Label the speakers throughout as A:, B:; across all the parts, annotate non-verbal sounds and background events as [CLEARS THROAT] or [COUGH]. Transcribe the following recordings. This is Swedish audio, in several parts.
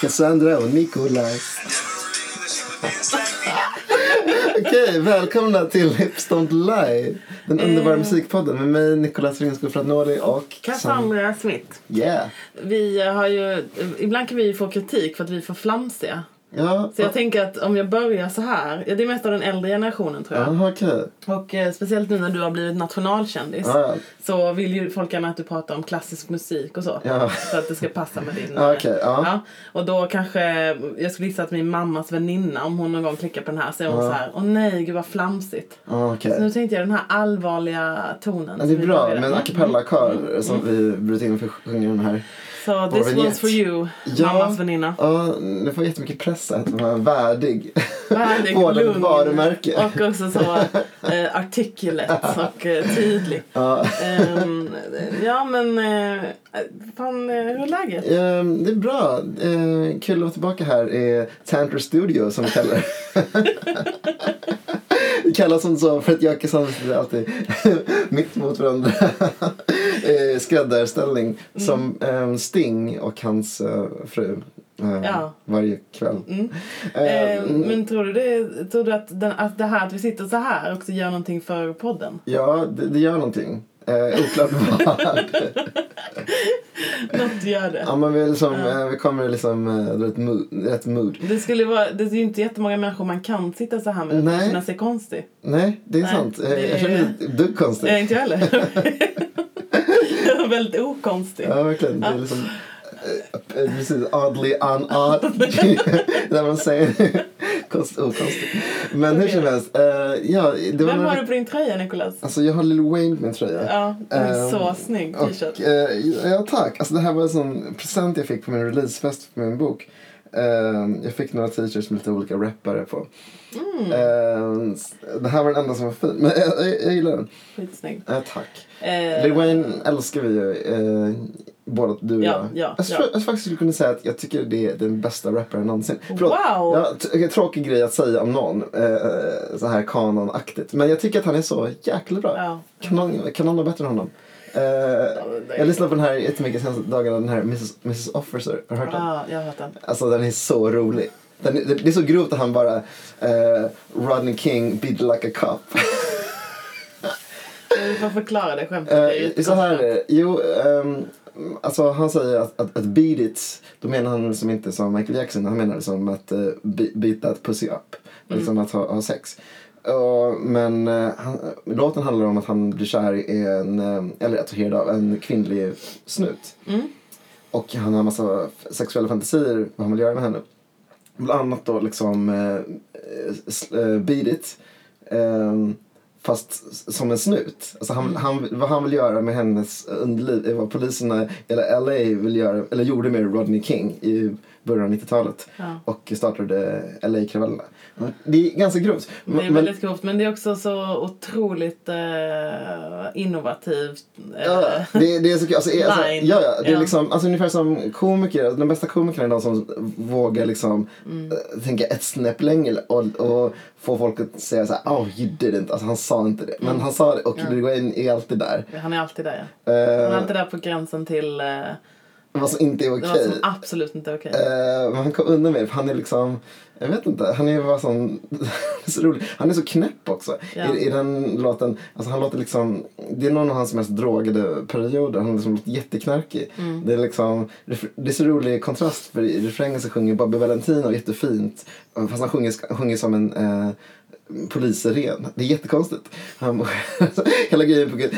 A: Cassandra och Nicolas. Okej, välkomna till Hips Don't Lie. Den underbara musikpodden med mig, Nicolas Ringskog Fradnoli och Cassandra.
B: Cassandra Smith.
A: Yeah.
B: Vi har ju, ibland kan vi ju få kritik för att vi är för flamsiga.
A: Ja,
B: Så jag tänker att om jag börjar så här, ja, det är mest av den äldre generationen tror jag.
A: Jaha, okej.
B: Och eh, speciellt nu när du har blivit nationalkändis
A: Ja, ja.
B: så vill ju folk gärna att du pratar om klassisk musik och så.
A: Ja.
B: För att det ska passa med
A: [LAUGHS]
B: din...
A: Ja, okej, ja.
B: Och då kanske, jag skulle gissa att min mammas väninna, om hon någon gång klickar på den här, så är hon så här, åh nej gud vad flamsigt.
A: Ja,
B: Så nu
A: Okej.
B: tänkte jag den här allvarliga tonen.
A: Ja,
B: som
A: det
B: vi
A: är bra
B: började
A: med en a
B: med.
A: cappella-kör som vi brutit in för att sjunga den här.
B: Så this
A: vignett.
B: one's for you, mammas väninna.
A: Ja, du får jättemycket press att vara värdig.
B: Värdig,
A: Vårdad
B: lugn
A: varumärke.
B: och också så eh, articulate och eh, tydlig.
A: Ja.
B: Ehm, ja men, eh, fan eh, hur är läget?
A: Ehm, det är bra. Ehm, kul att vara tillbaka här. är Tanter Studio som vi kallar [LAUGHS] det. kallas som så för att jag och Cassandra alltid [LAUGHS] mitt mot varandra. [LAUGHS] uh, skräddarställning
B: Mm.
A: som ehm, Sting och hans eh, fru. ehm,
B: Ja.
A: Varje kväll.
B: Eh,
A: Ehm,
B: men tror du, det, tror du att, den, att det här att vi sitter så här också gör någonting för podden?
A: Ja, det, det gör någonting. Uh, oklart
B: [LAUGHS]
A: vad.
B: Något gör det.
A: ja, men vi, är liksom, eh, vi kommer liksom eh, rätt, mood, rätt mood.
B: Det, skulle vara, det är ju inte jättemånga människor man kan sitta så här med utan
A: Nej.
B: att känna sig konstig.
A: Nej, det är
B: Nej,
A: sant. Eh,
B: det
A: jag känner
B: är-
A: mig ett dugg konstigt.
B: Eh, inte jag heller. [LAUGHS] Jag var Väldigt okonstig.
A: Ja, verkligen. Det är liksom... eh, eh, Precis, oddly on [LAUGHS] odd. När man säger konst, okonstigt. Men hur som helst. eh, ja, det var
B: Vem har
A: några...
B: du på din tröja Nicolas?
A: Alltså jag har Lil Wayne på min tröja.
B: Ja, den är
A: Ehm,
B: så snygg t-shirt.
A: Och, eh, ja, tack. Alltså, det här var en sån present jag fick på min releasefest för min bok. Ehm, jag fick några t-shirts med lite olika rappare på. Ehm, s- det här var den enda som var fin. Men jag, jag, jag gillar den.
B: Skitsnygg.
A: Eh, tack.
B: Eh,
A: Lil Wayne älskar vi ju. Eh, både du och
B: Ja,
A: jag. Alltså, jag,
B: ja, ja.
A: tror- jag faktiskt skulle kunna säga att jag tycker det är den bästa rapparen någonsin.
B: Wow!
A: Ja, t- okej, tråkig grej att säga om någon. Eh, så här kanonaktigt. Men jag tycker att han är så jäkla bra.
B: Ja.
A: Kan, någon, kan någon vara bättre än honom? Eh,
B: det är-
A: jag lyssnade på den här jättemycket senaste dagarna. Den här Mrs, Mrs Officer. Har du hört den?
B: Ja, jag har hört den.
A: Alltså den är så rolig. Den, det, det är så grovt att han bara eh, Rodney King beat like a cop.
B: Du får förklara det skämtet. det är
A: Eh,
B: jättekonstigt.
A: så här är det. Jo, ehm, alltså han säger att, att, att beat it, då menar han liksom inte som Michael Jackson, han menar det som att uh, beat that pussy up.
B: Mm.
A: Liksom att ha, ha sex. Och, men eh, han, låten handlar om att han blir kär i en, eh, eller attraherad av en kvinnlig snut.
B: Mm.
A: Och han har en massa f- sexuella fantasier vad han vill göra med henne. Bland annat då liksom eh, s- eh, Beat It. Ehm, fast s- som en snut. Alltså han, han, vad han vill göra med hennes underliv är vad poliserna i LA vill göra, eller gjorde med Rodney King i början av 90-talet.
B: Ja.
A: Och startade LA-kravallerna. Det är ganska grovt.
B: Det är
A: Men-
B: väldigt grovt, men det är också så otroligt eh, innovativt. eh,
A: Ja, ja. det, det är så kul. Alltså, är- alltså,
B: Line.
A: ja, ja, det är
B: Ja.
A: liksom, alltså, ungefär som komiker. Alltså, De bästa komikerna är de som vågar liksom,
B: Mm.
A: eh, tänka ett snäpp längre och, och få folk att säga så här, oh, you didn't. Alltså, han sa inte det. Men han sa det och Lil Wayne är alltid där.
B: Han är alltid där, ja. Mm. Han är
A: Eh,
B: alltid där på gränsen till eh,
A: vad som inte är okej.
B: något som absolut inte är okej.
A: Eh, men han kom undan med det för han är liksom, jag vet inte, han är bara sån, [LAUGHS] så rolig. Han är så knäpp också.
B: Ja.
A: I, I den låten, alltså han låter liksom, det är någon av hans mest drogade perioder. Han liksom låter jätteknarkig. Det är liksom, det är så rolig kontrast för i refrängen så sjunger Bobby Valentino jättefint. Fast han sjunger, sjunger som en eh, polisiren. Det är jättekonstigt. Han, [LAUGHS] hela grejen bygger,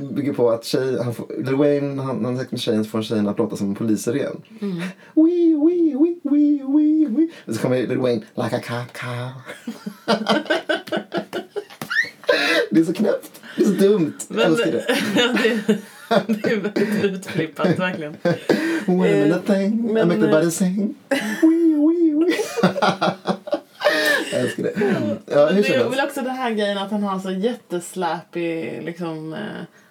A: bygger på att tjej, han får, Lil Wayne, han, när han har sex med tjejen så får tjejen att låta som en polisiren. Wee, wee, wee, wee, wee, wee. Och så kommer Lil Wayne, like a cop cow. det är så knäppt. Det är så dumt. Jag
B: Men,
A: älskar det.
B: [LAUGHS] ja, det, är- det är väldigt utflippat, verkligen.
A: Wait a
B: Eh,
A: minute thing, I
B: men,
A: make the
B: eh,
A: body sing. Wee, wee, wee. Jag älskar det. Ja, hur
B: Det är
A: som
B: väl
A: helst.
B: också den här grejen att han har så jättesläpig, liksom, eh,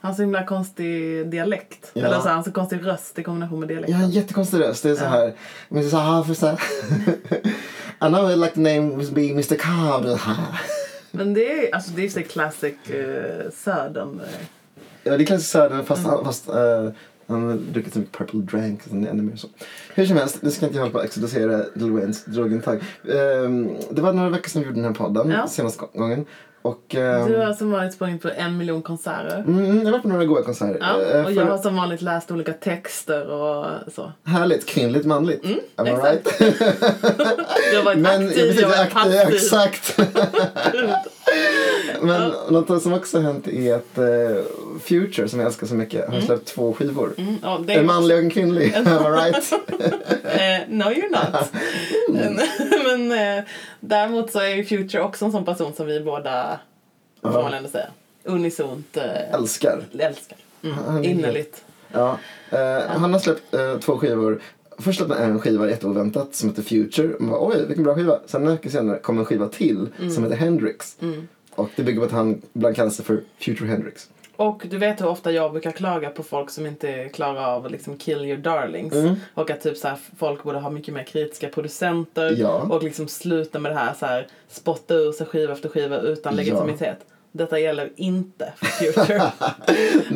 B: han har så himla konstig dialekt.
A: Ja.
B: Eller så, han har så konstig röst i kombination med dialekt.
A: Jag har en jättekonstig röst. Det är så här. Men så här för så här. I know I'd like the name would be Mr Cobb.
B: Men det är, alltså, det är så classic eh, södern. eh.
A: Ja, det är klassiskt Södern fast, han- fast eh, Han har druckit så mycket purple drank. Så han är ännu mer så. Hur som helst, nu ska inte jag hålla på och exodosera Lil Waynes drogintag. Ehm, det var några veckor sedan vi gjorde den här podden,
B: Ja.
A: senaste gången. Och, ehm,
B: Du har som vanligt sprungit på en miljon konserter.
A: mm, jag har varit på några goa konserter.
B: Ja,
A: Ehm,
B: och
A: för-
B: jag har som vanligt läst olika texter och så.
A: Härligt, kvinnligt, manligt.
B: Mm,
A: Am I right?
B: Jag har varit
A: Men jag
B: aktiv,
A: precis,
B: jag har varit
A: aktiv,
B: passiv.
A: exakt.
B: [LAUGHS]
A: Men något som också har hänt är att eh, Future, som jag älskar så mycket, har släppt två skivor.
B: Mm, ja, det
A: En manlig och en kvinnlig. Am I right?
B: Eh, no
A: [LAUGHS]
B: you're not.
A: Mm.
B: [LAUGHS] Men eh, däremot så är ju Future också en sån person som vi båda, får man ändå säga, unisont eh,
A: Älskar.
B: älskar.
A: Han-
B: Mm, innerligt.
A: Ja. Eh, han har släppt eh, två skivor. Först släppte han en skiva jätteoväntat som heter Future. Man bara, oj, vilken bra skiva. Sen några veckor senare kom en skiva till
B: Mm.
A: som heter Hendrix. Och det bygger på att han ibland kallas för Future Hendrix.
B: Och du vet hur ofta jag brukar klaga på folk som inte klarar av att liksom kill your darlings.
A: Mm.
B: Och att typ så här, folk borde ha mycket mer kritiska producenter.
A: Ja.
B: Och liksom sluta med det här, så här spotta ur sig skiva efter skiva utan
A: Ja.
B: legitimitet. Detta gäller inte
A: [LAUGHS]
B: för Future.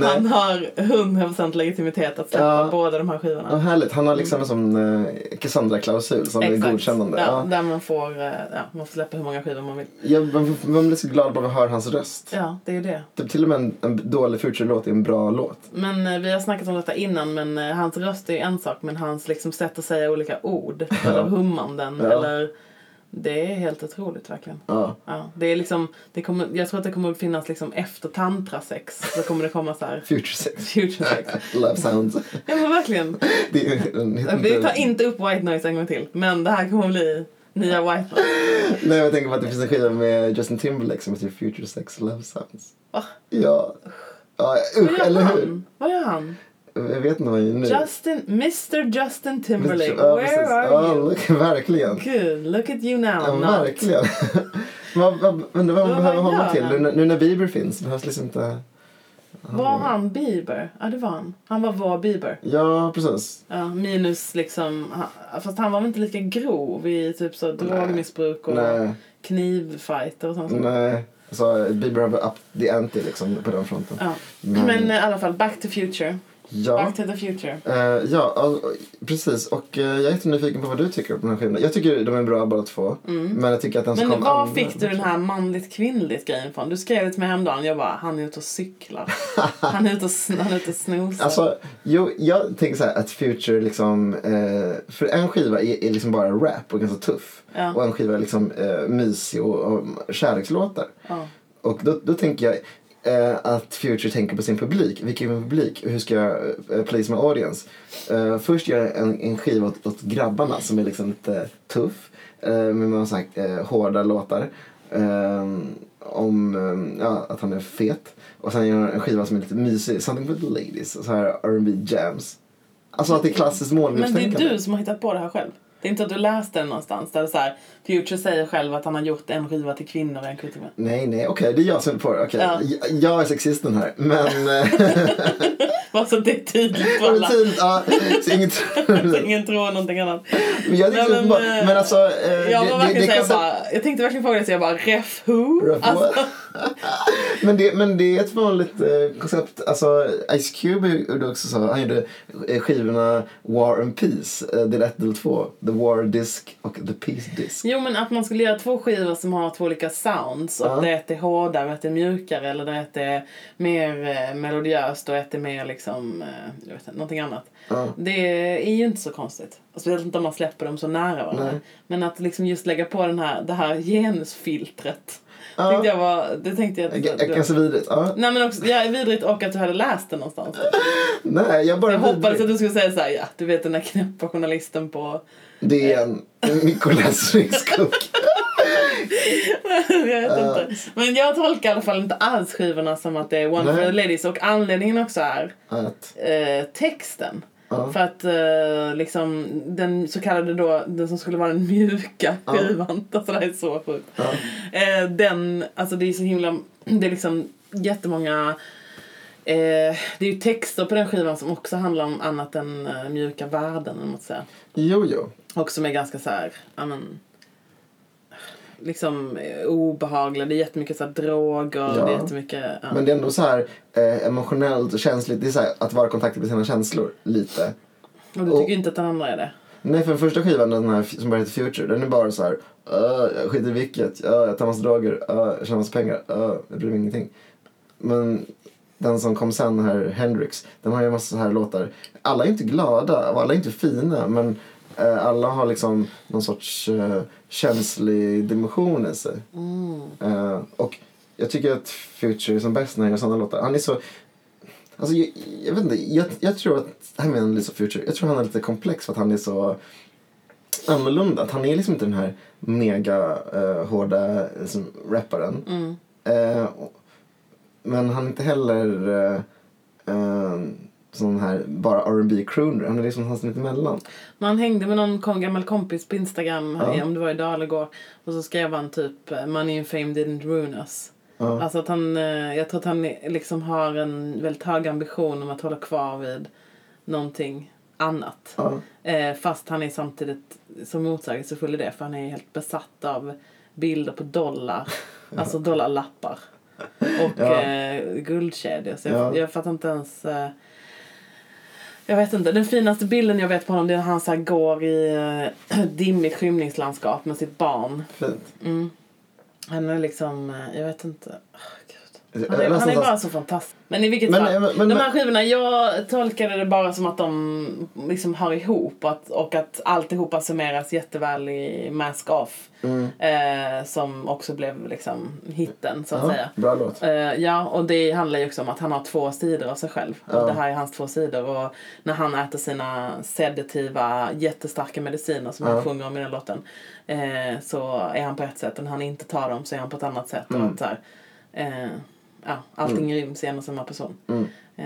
B: Han har 100% legitimitet att släppa
A: Ja.
B: båda de här skivorna.
A: Ja, härligt. Han har liksom en sån eh, Cassandra-klausul som är godkännande.
B: Ja,
A: Ja.
B: Där man får, eh, ja, man får släppa hur många skivor man vill.
A: Jag, man, man blir så glad bara man hör hans röst.
B: Ja, det är ju det.
A: Typ, till och med en, en dålig Future-låt är en bra låt.
B: Men eh, vi har snackat om detta innan, men eh, hans röst är ju en sak, men hans liksom sätt att säga olika ord, eller hummanden,
A: Ja.
B: eller... Det är helt otroligt verkligen.
A: Ja.
B: Ja, det är liksom, det kommer, jag tror att det kommer att finnas liksom efter tantrasex, så kommer det
A: [LAUGHS]
B: komma så här
A: Future sex.
B: future sex.
A: Love sounds.
B: Ja men verkligen.
A: Det är, en-
B: Vi tar inte upp white noise en gång till, men det här kommer att bli nya white noise.
A: Nej, jag tänker på att det finns en skiva med Justin Timberlake som heter Future Sex Love Sounds.
B: Va?
A: Ja. Ja,
B: Vad
A: usch,
B: gör
A: eller hur?
B: han? Vad gör han?
A: Jag vet inte vad jag gör nu.
B: Justin, Mr Justin Timberlake,
A: Ja,
B: where
A: precis.
B: are
A: ja,
B: you?
A: look, verkligen.
B: Gud, look at you now.
A: Ja,
B: Nat.
A: verkligen. [LAUGHS] Man- man- Undrar vad man
B: Vad
A: behöver
B: gör
A: honom
B: han?
A: till. Nu, när- nu när Bieber finns behövs liksom inte...
B: Var han Bieber? Ja, det var han. Han var vår Bieber.
A: Ja, precis.
B: Ja, minus liksom... ha- Fast han var väl inte lika grov i typ så drogmissbruk och
A: Nej,
B: knivfighter och sånt.
A: nej. Så alltså, Bieber har väl up the ante liksom på den fronten.
B: Ja.
A: Men-
B: Men, eh, i alla fall, back to future.
A: Ja,
B: Back to the future.
A: eh, ja ja, precis. Och eh, jag är jättenyfiken på vad du tycker om de här skivorna. Jag tycker de är bra båda två. Men jag tycker att den som
B: Mm. Men
A: kom
B: var
A: andra-
B: fick du den här manligt kvinnligt grejen från? Du skrev det till mig häromdagen. Jag bara, han är ute
A: [LAUGHS]
B: och cyklar. han är ute och, sn- han är ute och snosar.
A: Alltså, jo, jag tänker så här att Future liksom... Eh, för en skiva är, är liksom bara rap och ganska tuff.
B: Ja.
A: Och en skiva är liksom eh, mysig och, och kärlekslåtar.
B: ja.
A: Och då, då tänker jag eh, att Future tänker på sin publik. Vilken är min publik? Hur ska jag eh, place my audience? Eh, först gör jag en, en skiva åt, åt grabbarna som är liksom lite tuff. Eh, med några sån här, eh, hårda låtar. Eh, om eh, ja, att han är fet. Och sen gör jag en skiva som är lite mysig. Something for the ladies. Så här R&B jams. Alltså att det är klassiskt
B: Men det är
A: målgruppstänkande.
B: du som har hittat på det här själv. Det är inte att du läste det någonstans. Där det så här, Future säger själv att han har gjort en skiva till kvinnor och en till män.
A: Nej, nej, okej, det är jag som är på det. Okej,
B: Ja.
A: jag, jag är sexisten här. Men... eh,
B: Bara så att Alltså, det
A: [LAUGHS]
B: är tydligt för alla.
A: Rutin, ja, så inget
B: [LAUGHS] Så ingen tror någonting annat.
A: Men jag tyckte
B: Nej,
A: men,
B: men,
A: bara,
B: eh,
A: men alltså... eh,
B: Jag, var verkligen säga
A: koncept-
B: bara, jag tänkte verkligen fråga dig så jag bara ref who?
A: Ref who?
B: Alltså,
A: [LAUGHS] men, det, men det är ett vanligt eh, koncept. Alltså, Ice Cube gjorde också så. Han gjorde eh, skivorna War and Peace, eh, del 1, del 2. The War Disc och The Peace Disc.
B: jo men att man skulle göra två skivor som har två olika sounds. Och
A: Ja.
B: det ett är hårdare och ett är mjukare. Eller det ett är mer eh, melodiöst och ett är mer liksom, eh, jag vet inte, någonting annat.
A: Ja.
B: Det är ju inte så konstigt. Och Speciellt inte om man släpper dem så nära varandra.
A: Nej.
B: Men att liksom just lägga på den här, det här genusfiltret.
A: Ja.
B: Tänkte jag var, det tänkte jag...
A: G- Ganska vidrigt. Ja.
B: Nej men också, ja, vidrigt och att du hade läst det någonstans.
A: Nej, jag bara...
B: Jag hoppades att
A: vidrig.
B: du skulle säga så här, ja, du vet den där knäppa journalisten på...
A: Det är en Nicolas Riskok.
B: jag vet inte. Men jag tolkar i alla fall inte alls skivorna som att det är One for
A: Nej.
B: the Ladies. Och anledningen också är
A: [LAUGHS] Att,
B: eh, texten.
A: Ja.
B: För att eh, liksom den så kallade då, den som skulle vara den mjuka skivan, [LAUGHS] alltså det här är så sjukt.
A: ja.
B: Eh, den, alltså det är så himla, det är liksom jättemånga Eh, det är ju texter på den skivan som också handlar om annat än eh, mjuka värden, eller vad man ska säga.
A: Jo, jo.
B: Och som är ganska så här, ja men... liksom eh, obehagliga. Det är jättemycket så här, droger.
A: Ja.
B: Det är jättemycket... Ja.
A: Men det är ändå så här eh, emotionellt och känsligt. Det är så här, att vara i kontakt med sina känslor lite.
B: och du tycker
A: och-
B: inte att den andra är det?
A: Nej, för den första skivan, den här som bara heter Future, den är bara så här... "Öh, jag skiter i vilket, Öh, jag tar massa droger, Öh, jag tjänar massa pengar, Öh, jag bryr mig ingenting. Men den som kom sen, den här Hendrix, den har ju en massa så här låtar. Alla är inte glada och alla är inte fina, men eh, alla har liksom någon sorts eh, känslig dimension i sig. Eh, och jag tycker att Future är som bäst när han gör sådana låtar. Han är så... Alltså, jag, jag vet inte, jag, jag tror att... Det här med en Lisa Future. Jag tror han är lite komplex för att han är så annorlunda. Att han är liksom inte den här mega eh, hårda liksom, rapparen.
B: Mm.
A: Eh, och- men han är inte heller eh, eh, sån här bara R&B crooner. Han är liksom någonstans mitt emellan.
B: Men han hängde med någon kom, gammal kompis på Instagram,
A: Ja.
B: om det var idag eller igår. Och så skrev han typ “Money and fame didn't ruin us”.
A: Ja.
B: Alltså att han, eh, jag tror att han är- liksom har en väldigt hög ambition om att hålla kvar vid någonting annat.
A: Ja.
B: Eh, fast han är samtidigt så motsägelsefull i det för han är helt besatt av bilder
A: [LAUGHS]
B: på dollar, alltså dollarlappar och
A: Ja.
B: eh, guldkedjor. Så jag,
A: Ja.
B: jag fattar inte ens... Eh, jag vet inte, den finaste bilden jag vet på honom det är när han så här går i eh, [CLEARS THROAT] dimmigt skymningslandskap med sitt barn.
A: Fint.
B: Han är liksom, eh, jag vet inte. Åh, Gud.
A: Jag
B: Alltså, Han är,
A: läste
B: han är
A: någonstans-
B: bara så fantastisk. Men i vilket
A: Men-
B: fall,
A: men- men-
B: de här skivorna, jag tolkade det bara som att de liksom hör ihop och att, och att alltihopa summeras jätteväl i Mask Off.
A: Mm.
B: Eh, som också blev liksom hitten så att
A: Ja,
B: säga.
A: Bra låt.
B: Eh, ja, och det handlar ju också om att han har två sidor av sig själv.
A: Ja.
B: Och det här är hans två sidor. Och när han äter sina sedativa, jättestarka mediciner som
A: Ja.
B: han sjunger om i den låten. Eh, så är han på ett sätt. Och när han inte tar dem så är han på ett annat sätt.
A: Mm.
B: Och att så här, eh, ja, allting ryms i en och samma person.
A: Mm.
B: Eh,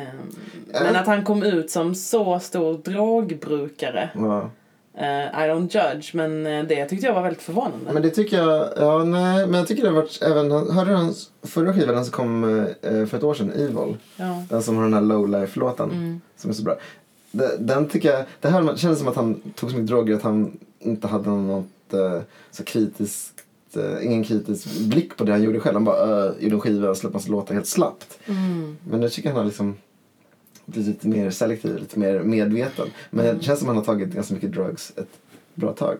B: men
A: Äh.
B: att han kom ut som så stor drogbrukare.
A: Ja.
B: Eh, I don't judge, men eh, det tyckte jag var väldigt förvånande.
A: Men det tycker jag, ja nej, men jag tycker det har varit även, hörde du hans förra skivan den som kom eh, för ett år sedan, Evil?
B: ja.
A: Den som har den här lowlife låten
B: Mm.
A: som är så bra. De- Den tycker jag, det här kändes som att han tog så mycket droger att han inte hade något eh, så kritiskt, eh, ingen kritisk blick på det han gjorde själv. Han bara eh, gjorde en skiva och släppte massa låtar helt slappt. Men jag tycker han har liksom blivit lite mer selektiv, lite mer medveten. Men
B: Mm.
A: det känns som att han har tagit ganska mycket drugs ett bra tag.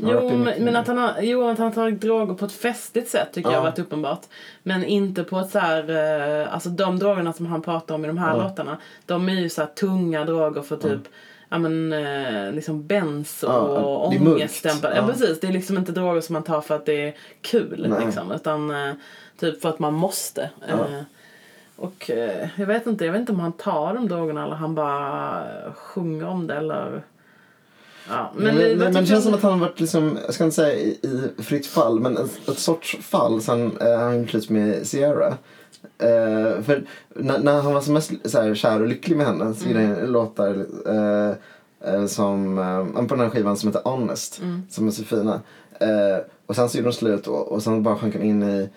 A: Han har varit
B: Jo,
A: i
B: men
A: mycket-
B: men att han har, jo, att han har tagit droger på ett festligt sätt tycker
A: Ja.
B: jag har varit uppenbart. Men inte på ett så här, eh, alltså de drogerna som han pratar om i de här
A: Ja.
B: låtarna. De är ju så här tunga droger för typ, ja men eh, liksom benzo
A: Ja,
B: och
A: det är mörkt.
B: ångestdämpare. Ja.
A: Ja.
B: precis, det är liksom inte droger som man tar för att det är kul
A: Nej.
B: liksom. Utan eh, typ för att man måste.
A: Ja.
B: Eh, Och eh, jag vet inte, jag vet inte om han tar de drogerna eller han bara sjunger om det eller... Ja, men,
A: Men, men,
B: jag
A: men det
B: tycker
A: känns
B: att-
A: som att han har varit, liksom, jag ska inte säga i, i fritt fall, men ett, ett sorts fall sen eh, han gjorde slut med Sierra. Eh, för när, när han var som mest så här, kär och lycklig med henne
B: Mm.
A: så gjorde han låtar eh, eh, som, eh, på den här skivan som heter Honest,
B: Mm.
A: som är så fina. Eh, och sen så gjorde de slut och, och sen bara sjönk han in i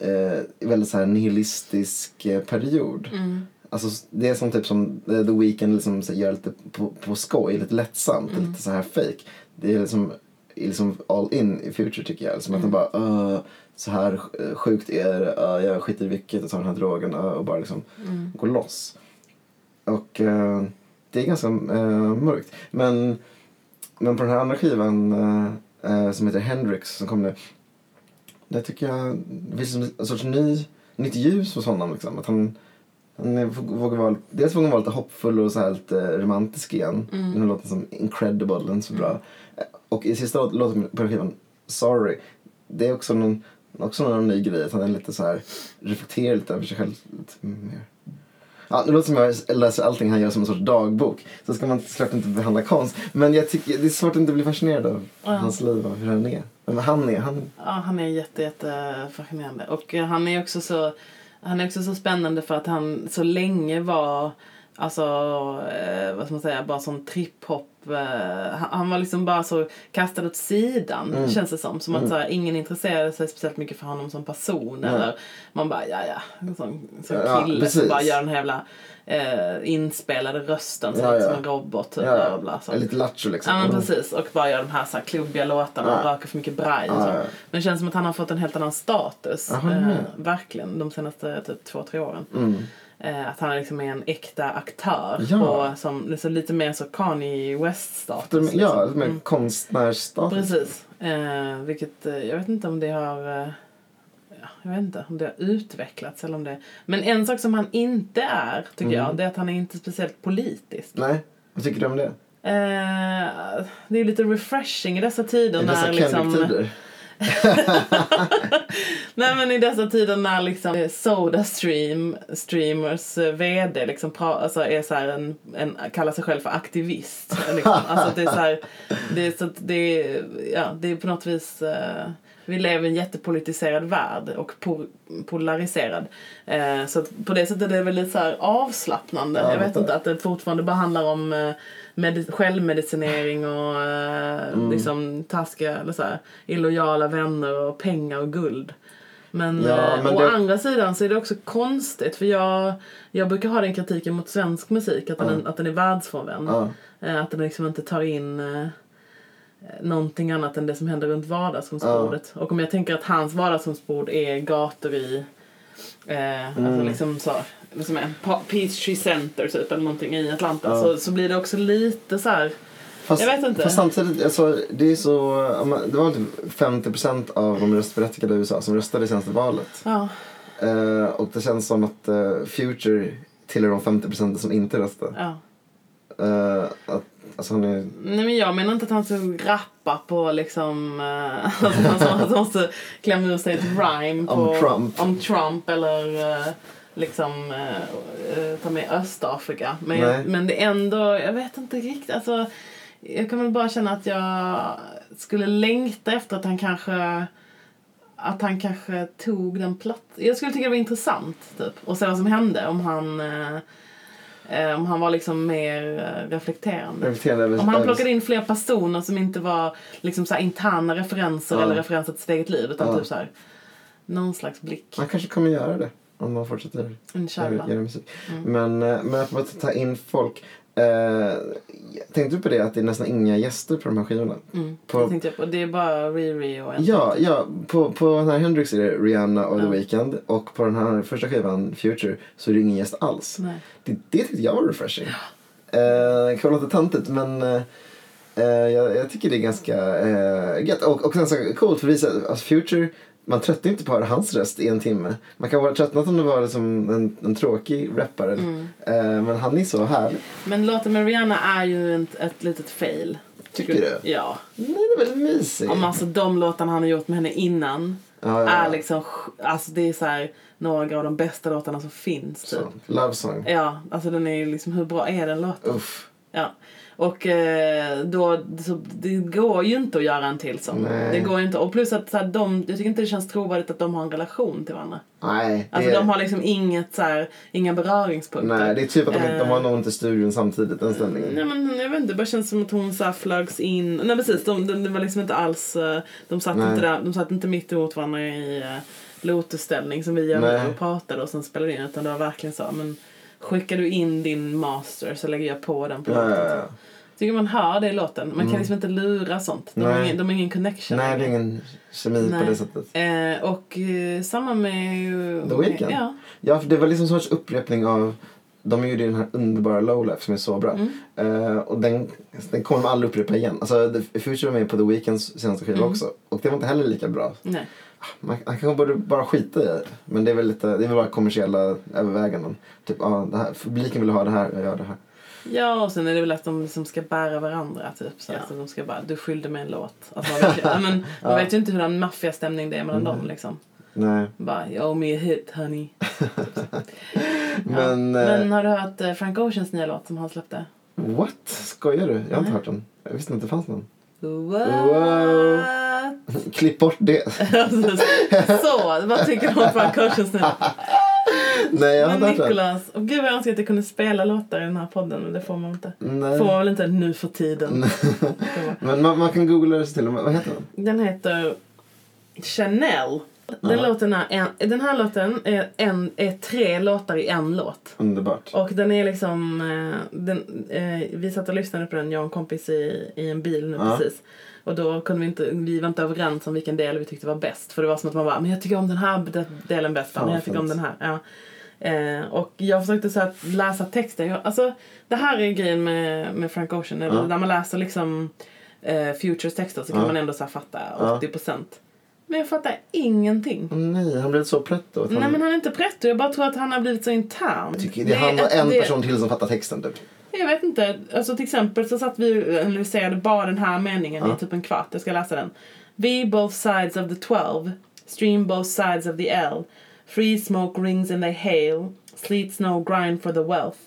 A: eh, i väldigt så här nihilistisk eh, period.
B: Mm.
A: Alltså, det är som typ som eh, The Weeknd liksom, så, gör lite på, på skoj, lite lättsamt, lite så här fake. Det är liksom, är liksom all in i Future tycker jag. Liksom att han bara "Öh, så här sj- sjukt är det, Öh, jag skiter i vilket och tar den här drogen öh", och bara liksom går loss. Och eh, det är ganska eh, mörkt. Men, men på den här andra skivan eh, eh, som heter Hendrix som kom nu. Där tycker jag det finns som en sorts ny, nytt ljus hos honom. Liksom. Att han, han är- vågar vara, dels vågar han vara lite hoppfull och så här lite eh, romantisk igen.
B: Mm.
A: Den här låten som Incredible, den är så bra. Eh, Och i sista lå- låten på den här skivan, Sorry, det är också någon, också någon ny grej. Att han är lite så här, reflekterar lite över sig själv lite mer. Ja, det låter som jag läser allting han gör som en sorts dagbok. Så ska man såklart inte behandla konst. Men jag tycker, det är svårt att inte bli fascinerad av
B: Ja. Typ
A: hans liv och hur han är. Men han är, han...
B: Ja, han är jätte, jätte fascinerande. Och eh, han är också så, han är också så spännande för att han så länge var Alltså, eh, vad ska man säga, bara sån trip-hop. Eh, han, han var liksom bara så kastad åt sidan,
A: Mm.
B: känns det som. Som att så här, ingen intresserade sig speciellt mycket för honom som person. Eller man bara, ja ja, en sån, sån
A: Ja,
B: kille som
A: precis.
B: bara gör den här jävla eh, inspelade rösten som
A: Ja,
B: låter
A: ja.
B: som en robot. Typ, bla, bla, bla,
A: Ja,
B: så.
A: lite lattjo liksom.
B: Ja men
A: Mm.
B: precis och bara gör de här, så här klubbiga låtarna och
A: Ja.
B: röker för mycket braj och
A: Ja,
B: så.
A: ja, ja.
B: Men det känns som att han har fått en helt annan status.
A: Aha,
B: eh,
A: ja.
B: verkligen de senaste typ två, tre åren.
A: Mm.
B: Eh, att han liksom är en äkta aktör
A: Ja.
B: och som, liksom, lite mer så Kanye West-status.
A: De-
B: liksom.
A: Ja, lite mer konstnärsstatus.
B: Precis. Eh, vilket eh, jag vet inte om det har... Eh, ja, jag vet inte om det har utvecklats eller om det... Men en sak som han inte är, tycker
A: Mm.
B: jag, det är att han är inte speciellt politisk.
A: Nej, vad tycker du om det?
B: Eh, det är lite refreshing i dessa tider
A: I
B: när
A: dessa
B: liksom...
A: Kendrick-tider?
B: Nej men i dessa tider när liksom eh, Sodastream, streamers eh, VD liksom pra, alltså är så här en, en, kallar sig själv för aktivist. Liksom. Alltså att det är så här, det är så att det är, ja det är på något vis, eh, vi lever i en jättepolitiserad värld och po- polariserad. Eh, så att på det sättet är det väl lite så här avslappnande.
A: Ja,
B: jag vet
A: vänta.
B: inte att det fortfarande bara handlar om eh, medi- självmedicinering och eh, liksom taskiga eller så här, illojala vänner och pengar och guld. Men,
A: Ja,
B: eh,
A: men
B: å
A: det-
B: andra sidan så är det också konstigt för jag, jag brukar ha den kritiken mot svensk musik att den, att den är världsfrånvänd.
A: Ja.
B: Eh, Att den liksom inte tar in eh, någonting annat än det som händer runt vardagsrumsbordet. Och om jag tänker att hans vardagsrumsbord är gator i Eh,
A: Mm.
B: Alltså liksom så, liksom en pa- Peachtree Center typ eller någonting i Atlanta så, så blir det också lite så här.
A: Fast,
B: Jag vet inte.
A: Fast samtidigt, alltså, det är så... ja, men Det var typ 50 av de röstberättigade i USA som röstade i senaste valet.
B: Ja,
A: Eh, och det känns som att eh, Future tillhör de 50 som inte röstade.
B: ja.
A: Eh, att, alltså han är...
B: Nej men jag menar inte att han ska rappa på liksom, eh, [LAUGHS] alltså han sa att han måste klämma ur sig ett rhyme på,
A: Om Trump.
B: om Trump eller eh, liksom eh, eh, ta med Östafrika. Men,
A: Nej.
B: jag, men det är ändå, jag vet inte riktigt, alltså jag kan väl bara känna att jag skulle längta efter att han kanske att han kanske tog den plats. Jag skulle tycka det var intressant typ. Och se vad som hände om han eh, eh, om han var liksom mer eh, reflekterande.
A: reflekterande över-
B: Om han
A: över-
B: plockade in fler personer som inte var liksom så här interna referenser
A: Ja.
B: eller referenser till sitt eget liv utan
A: Ja.
B: typ så här, någon slags blick.
A: Han kanske kommer göra det om han fortsätter
B: Inshallah.
A: göra, göra musik.
B: Mm.
A: Men, eh, men att man ta in folk. Eh, tänkte du på det att det är nästan inga gäster på de här skivorna?
B: Mm.
A: På-
B: Det tänkte jag på. Det är bara Riri och en.
A: Ja, ja på, på den här Hendrix är det Rihanna och
B: Ja.
A: The Weeknd och på den här första skivan Future så är det ingen gäst alls.
B: Nej.
A: Det, det tyckte jag var refreshing. Eh, kan låta tantigt men eh, eh, jag, jag tycker det är ganska eh, gött. Och, och sen så coolt för visa, alltså Future, man tröttnar inte på att höra hans röst i en timme. Man kan vara tröttnat om det var liksom en, en tråkig rappare.
B: Mm.
A: Eh, men han är så härlig.
B: Men låten med Rihanna är ju ett, ett litet fail.
A: Tycker du?
B: Ja.
A: Nej, det är väldigt mysig.
B: Om alltså de låtarna han har gjort med henne innan
A: Ja, ja, ja.
B: är liksom, sj- alltså det är så här, några av de bästa låtarna som finns typ.
A: Så, Love song.
B: Ja, alltså den är ju liksom, hur bra är den låten?
A: Uff.
B: Ja. Och eh, då, så, det går ju inte att göra en till sån.
A: Nej.
B: Det går ju inte. Och plus att så här, de, jag tycker inte det känns trovärdigt att de har en relation till varandra.
A: Nej, det
B: Alltså
A: är-
B: de har liksom inget så här, inga beröringspunkter.
A: Nej, det är typ att de, inte, de har
B: Eh,
A: nog inte studion samtidigt, den ställningen.
B: Nej men jag vet inte, det bara känns som att hon så här flögs in. Nej precis, de, de, det var liksom inte alls, eh, de satt,
A: Nej.
B: inte, där, de satt inte mitt emot varandra i eh, lotusställning som vi gör
A: Nej.
B: nu och pratade och sen spelade in. Utan det var verkligen så, men skickar du in din master så lägger jag på den på
A: Ja,
B: låten.
A: ja, ja.
B: tycker man hör det i låten. Man kan liksom inte lura sånt. De, har
A: Mm. Nej.
B: ingen, de har ingen connection.
A: Nej, det är ingen kemi på
B: Nej.
A: det sättet.
B: Eh, och eh, samma med...
A: The Weeknd?
B: Ja.
A: Ja, för det var liksom en sorts upprepning av... De gjorde ju den här underbara Lowlife som är så bra.
B: Mm.
A: Eh, och den, den kommer de aldrig upprepa igen. Alltså, The Future var med på The Weeknds senaste skiva
B: Mm.
A: också. Och det var inte heller lika bra.
B: Nej.
A: Man, han kanske borde bara skita i det. Men det är väl, lite, det är väl bara kommersiella överväganden. Typ, ja, det här, publiken vill ha det här, jag gör det här.
B: Ja, och sen är det väl att de liksom ska bära varandra. Typ, så att de ska bara, du skyllde mig en låt. Alltså, man vet ju, ja, men,
A: [LAUGHS]
B: man vet ju inte hur den maffiastämning det är mellan
A: Mm.
B: dem. Liksom.
A: Nej.
B: Bara, you owe me a hit honey.
A: [LAUGHS] Men, eh,
B: Men har du hört eh, Frank Oceans nya låt som han släppte?
A: what? Skojar du? Jag har inte hört den. Jag visste inte att det fanns någon.
B: What?
A: Wow.
B: [LAUGHS]
A: Klipp bort det.
B: Alltså, så, vad tycker du om Frank Oceans nya låt?
A: Nej, jag har
B: Men
A: inte hört den.
B: Nicolas, oh, gud vad jag önskar att jag kunde spela låtar i den här podden men det får man inte.
A: Nej.
B: Får man väl inte nu för tiden.
A: Men man, man kan googla det sig till. Vad heter den?
B: [LAUGHS] Den heter Chanel. Den,
A: Ja.
B: låten är en, den här låten är, en, är tre låtar i en låt.
A: Underbart.
B: Och den är liksom... eh, Den, eh, vi satt och lyssnade på den, jag och en kompis i, i en bil nu
A: Ja.
B: precis. Och då kunde vi inte, vi var inte överens om vilken del vi tyckte var bäst. För det var som att man bara, men jag tycker om den här de- delen bäst.
A: Fan,
B: men jag
A: vad
B: tycker om den
A: fint.
B: här. Ja. Eh, och jag försökte så att läsa texten. Jag, alltså, det här är grejen med, med Frank Ocean.
A: Ja.
B: När man läser liksom eh, Futures texter så kan
A: Ja.
B: man ändå så här fatta
A: Ja. Mm.
B: 80%. Men jag fattar ingenting.
A: Åh, Nej, han blev så pretto. att han-
B: Nej men han är inte pretto, jag bara tror att han har blivit så intern.
A: Jag tycker det
B: Det
A: är han och
B: att
A: en
B: det-
A: person till som fattar texten typ.
B: Jag vet inte. Alltså till exempel så satt vi och analyserade bara den här meningen
A: Ja.
B: i typ en kvart. Jag ska läsa den. We both sides of the twelve. Stream both sides of the L. Free smoke rings and they hail. Sleet snow grind for the wealth.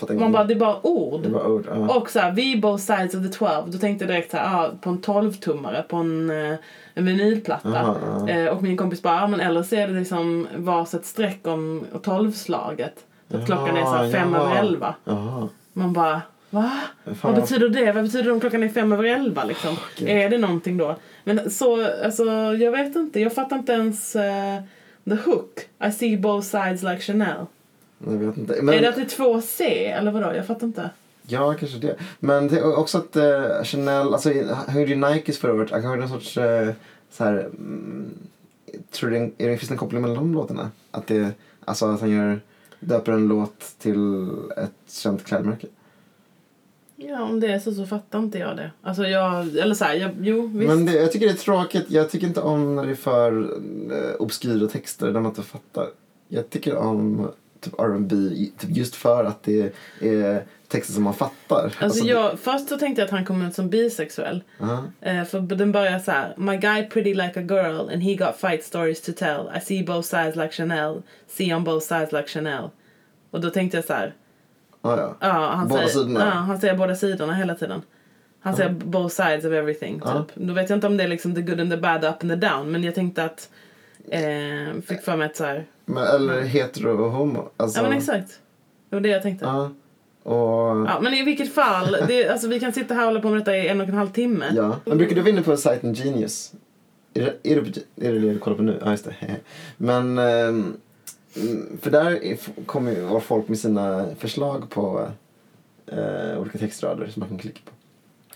A: Fattar
B: Man
A: ingenting.
B: bara, det är bara ord.
A: Det var ord. Ja.
B: Och så här, we both sides of the twelve. Då tänkte jag direkt så här, ah, på en 12-tummare, på en, eh, en vinylplatta.
A: Aha, aha.
B: Eh, och min kompis bara, ah, men eller så är det liksom varsitt streck om 12-slaget. Så att klockan är så här
A: Ja,
B: fem
A: ja.
B: över elva.
A: Jaha.
B: Man bara, va?
A: Fan.
B: Vad betyder det? Vad betyder det om klockan är fem över elva liksom?
A: Gud.
B: är det någonting då? Men så, alltså jag vet inte. Jag fattar inte ens eh, the hook. I see both sides like Chanel.
A: Jag vet inte.
B: Är
A: Men,
B: det att det är två C eller vadå? Jag fattar inte.
A: Ja, kanske det. Men det är också att eh, Chanel, alltså han gjorde ju Nikes förra året. Han gjorde någon sorts eh, så här, mm, tror du det är en- är det, finns det en koppling mellan de låtarna? Att det, alltså att han gör, döper en låt till ett känt klädmärke.
B: Ja, om det är så så fattar inte jag det. Alltså jag, eller så här, jag, jo visst.
A: Men det, jag tycker det är tråkigt. Jag tycker inte om när det är för eh, obskyra texter där man inte fattar. Jag tycker om typ R&B typ just för att det är texter som man fattar.
B: Alltså
A: Alltså, det-
B: jag, först så tänkte jag att han kom ut som bisexuell.
A: Ja.
B: Eh, för den börjar så här. My guy pretty like a girl and he got fight stories to tell. I see both sides like Chanel. See on both sides like Chanel. Och då tänkte jag så här.
A: Ja, ja.
B: Ja, han,
A: Båda
B: säger,
A: sidorna.
B: ja, han säger båda sidorna hela tiden. Han säger both sides of everything.
A: Ja.
B: Typ. Då vet jag inte om det är liksom the good and the bad, the up and the down. Men jag tänkte att... Eh, fick för mig att så här.
A: Men, eller hetero och homo. Alltså,
B: Ja men exakt. Det var det jag tänkte.
A: Ja. Och... Ja.
B: Ja, men i vilket fall, det, alltså, vi kan sitta här och hålla på med detta i en och en halv timme.
A: Men brukar du vara inne på sajten Genius? Är det är det, på- är det, det du kollar på nu? Ja, just det. [LAUGHS] Men... ehm, mm, För där är- kommer ju var folk med sina förslag på eh, olika textrader som man kan klicka på.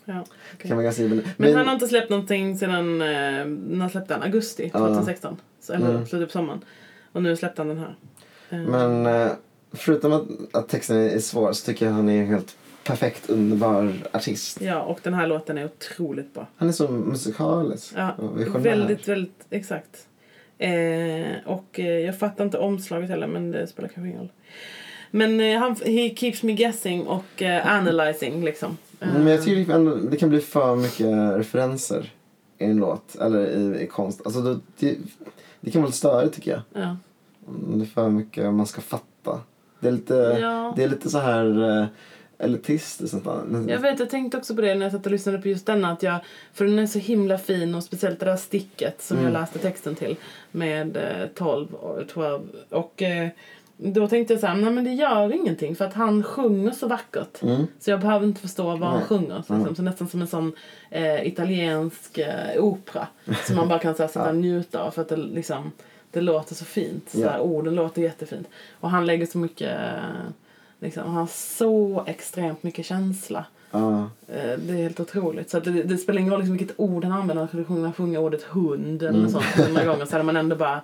B: Ja,
A: Det
B: okej.
A: kan vara ganska givande.
B: Men, han har inte släppt någonting sedan, eh, när släppte han? Augusti
A: Ja.
B: 2016? Så, eller
A: Mm.
B: slutet på sommaren. Och nu släppte han den här. Eh,
A: Men eh, förutom att, att texten är svår så tycker jag han är en helt perfekt underbar artist.
B: Ja, och den här låten är otroligt bra.
A: Han är så musikalisk
B: Ja,
A: och visionär.
B: väldigt, väldigt, exakt. Eh, och eh, jag fattar inte omslaget heller, men det spelar kanske ingen roll. Men eh, han, he keeps me guessing och eh, analyzing liksom. Eh,
A: Men jag tycker ändå, det kan bli för mycket referenser i en låt eller i, i konst. Alltså då, det, det kan vara lite störigt tycker jag.
B: ja.
A: Mm, Det är för mycket man ska fatta. Det är lite,
B: Ja.
A: det är lite så här eh, elitistiskt nästan.
B: Jag vet, jag tänkte också på det när jag satt och lyssnade på just denna. Att jag, för den är så himla fin och speciellt det där sticket som jag
A: Mm.
B: läste texten till med eh, 12 och 12. Och eh, då tänkte jag så här, nej men det gör ingenting för att han sjunger så vackert.
A: Mm.
B: Så jag behöver inte förstå vad han
A: Nej. Mm.
B: sjunger. Liksom. Så nästan som en sån eh, italiensk eh, opera som man bara kan så här, sitta och njuta av för att det liksom det låter så fint. Så
A: Ja.
B: här, orden låter jättefint. Och han lägger så mycket, eh, liksom, han har så extremt mycket känsla.
A: Ja.
B: Eh, Det är helt otroligt. Så att det, det spelar ingen roll liksom vilket ord han använder. Han skulle kunna sjunga ordet hund
A: Mm.
B: eller något sånt
A: [LAUGHS]
B: hundra gånger så hade man ändå bara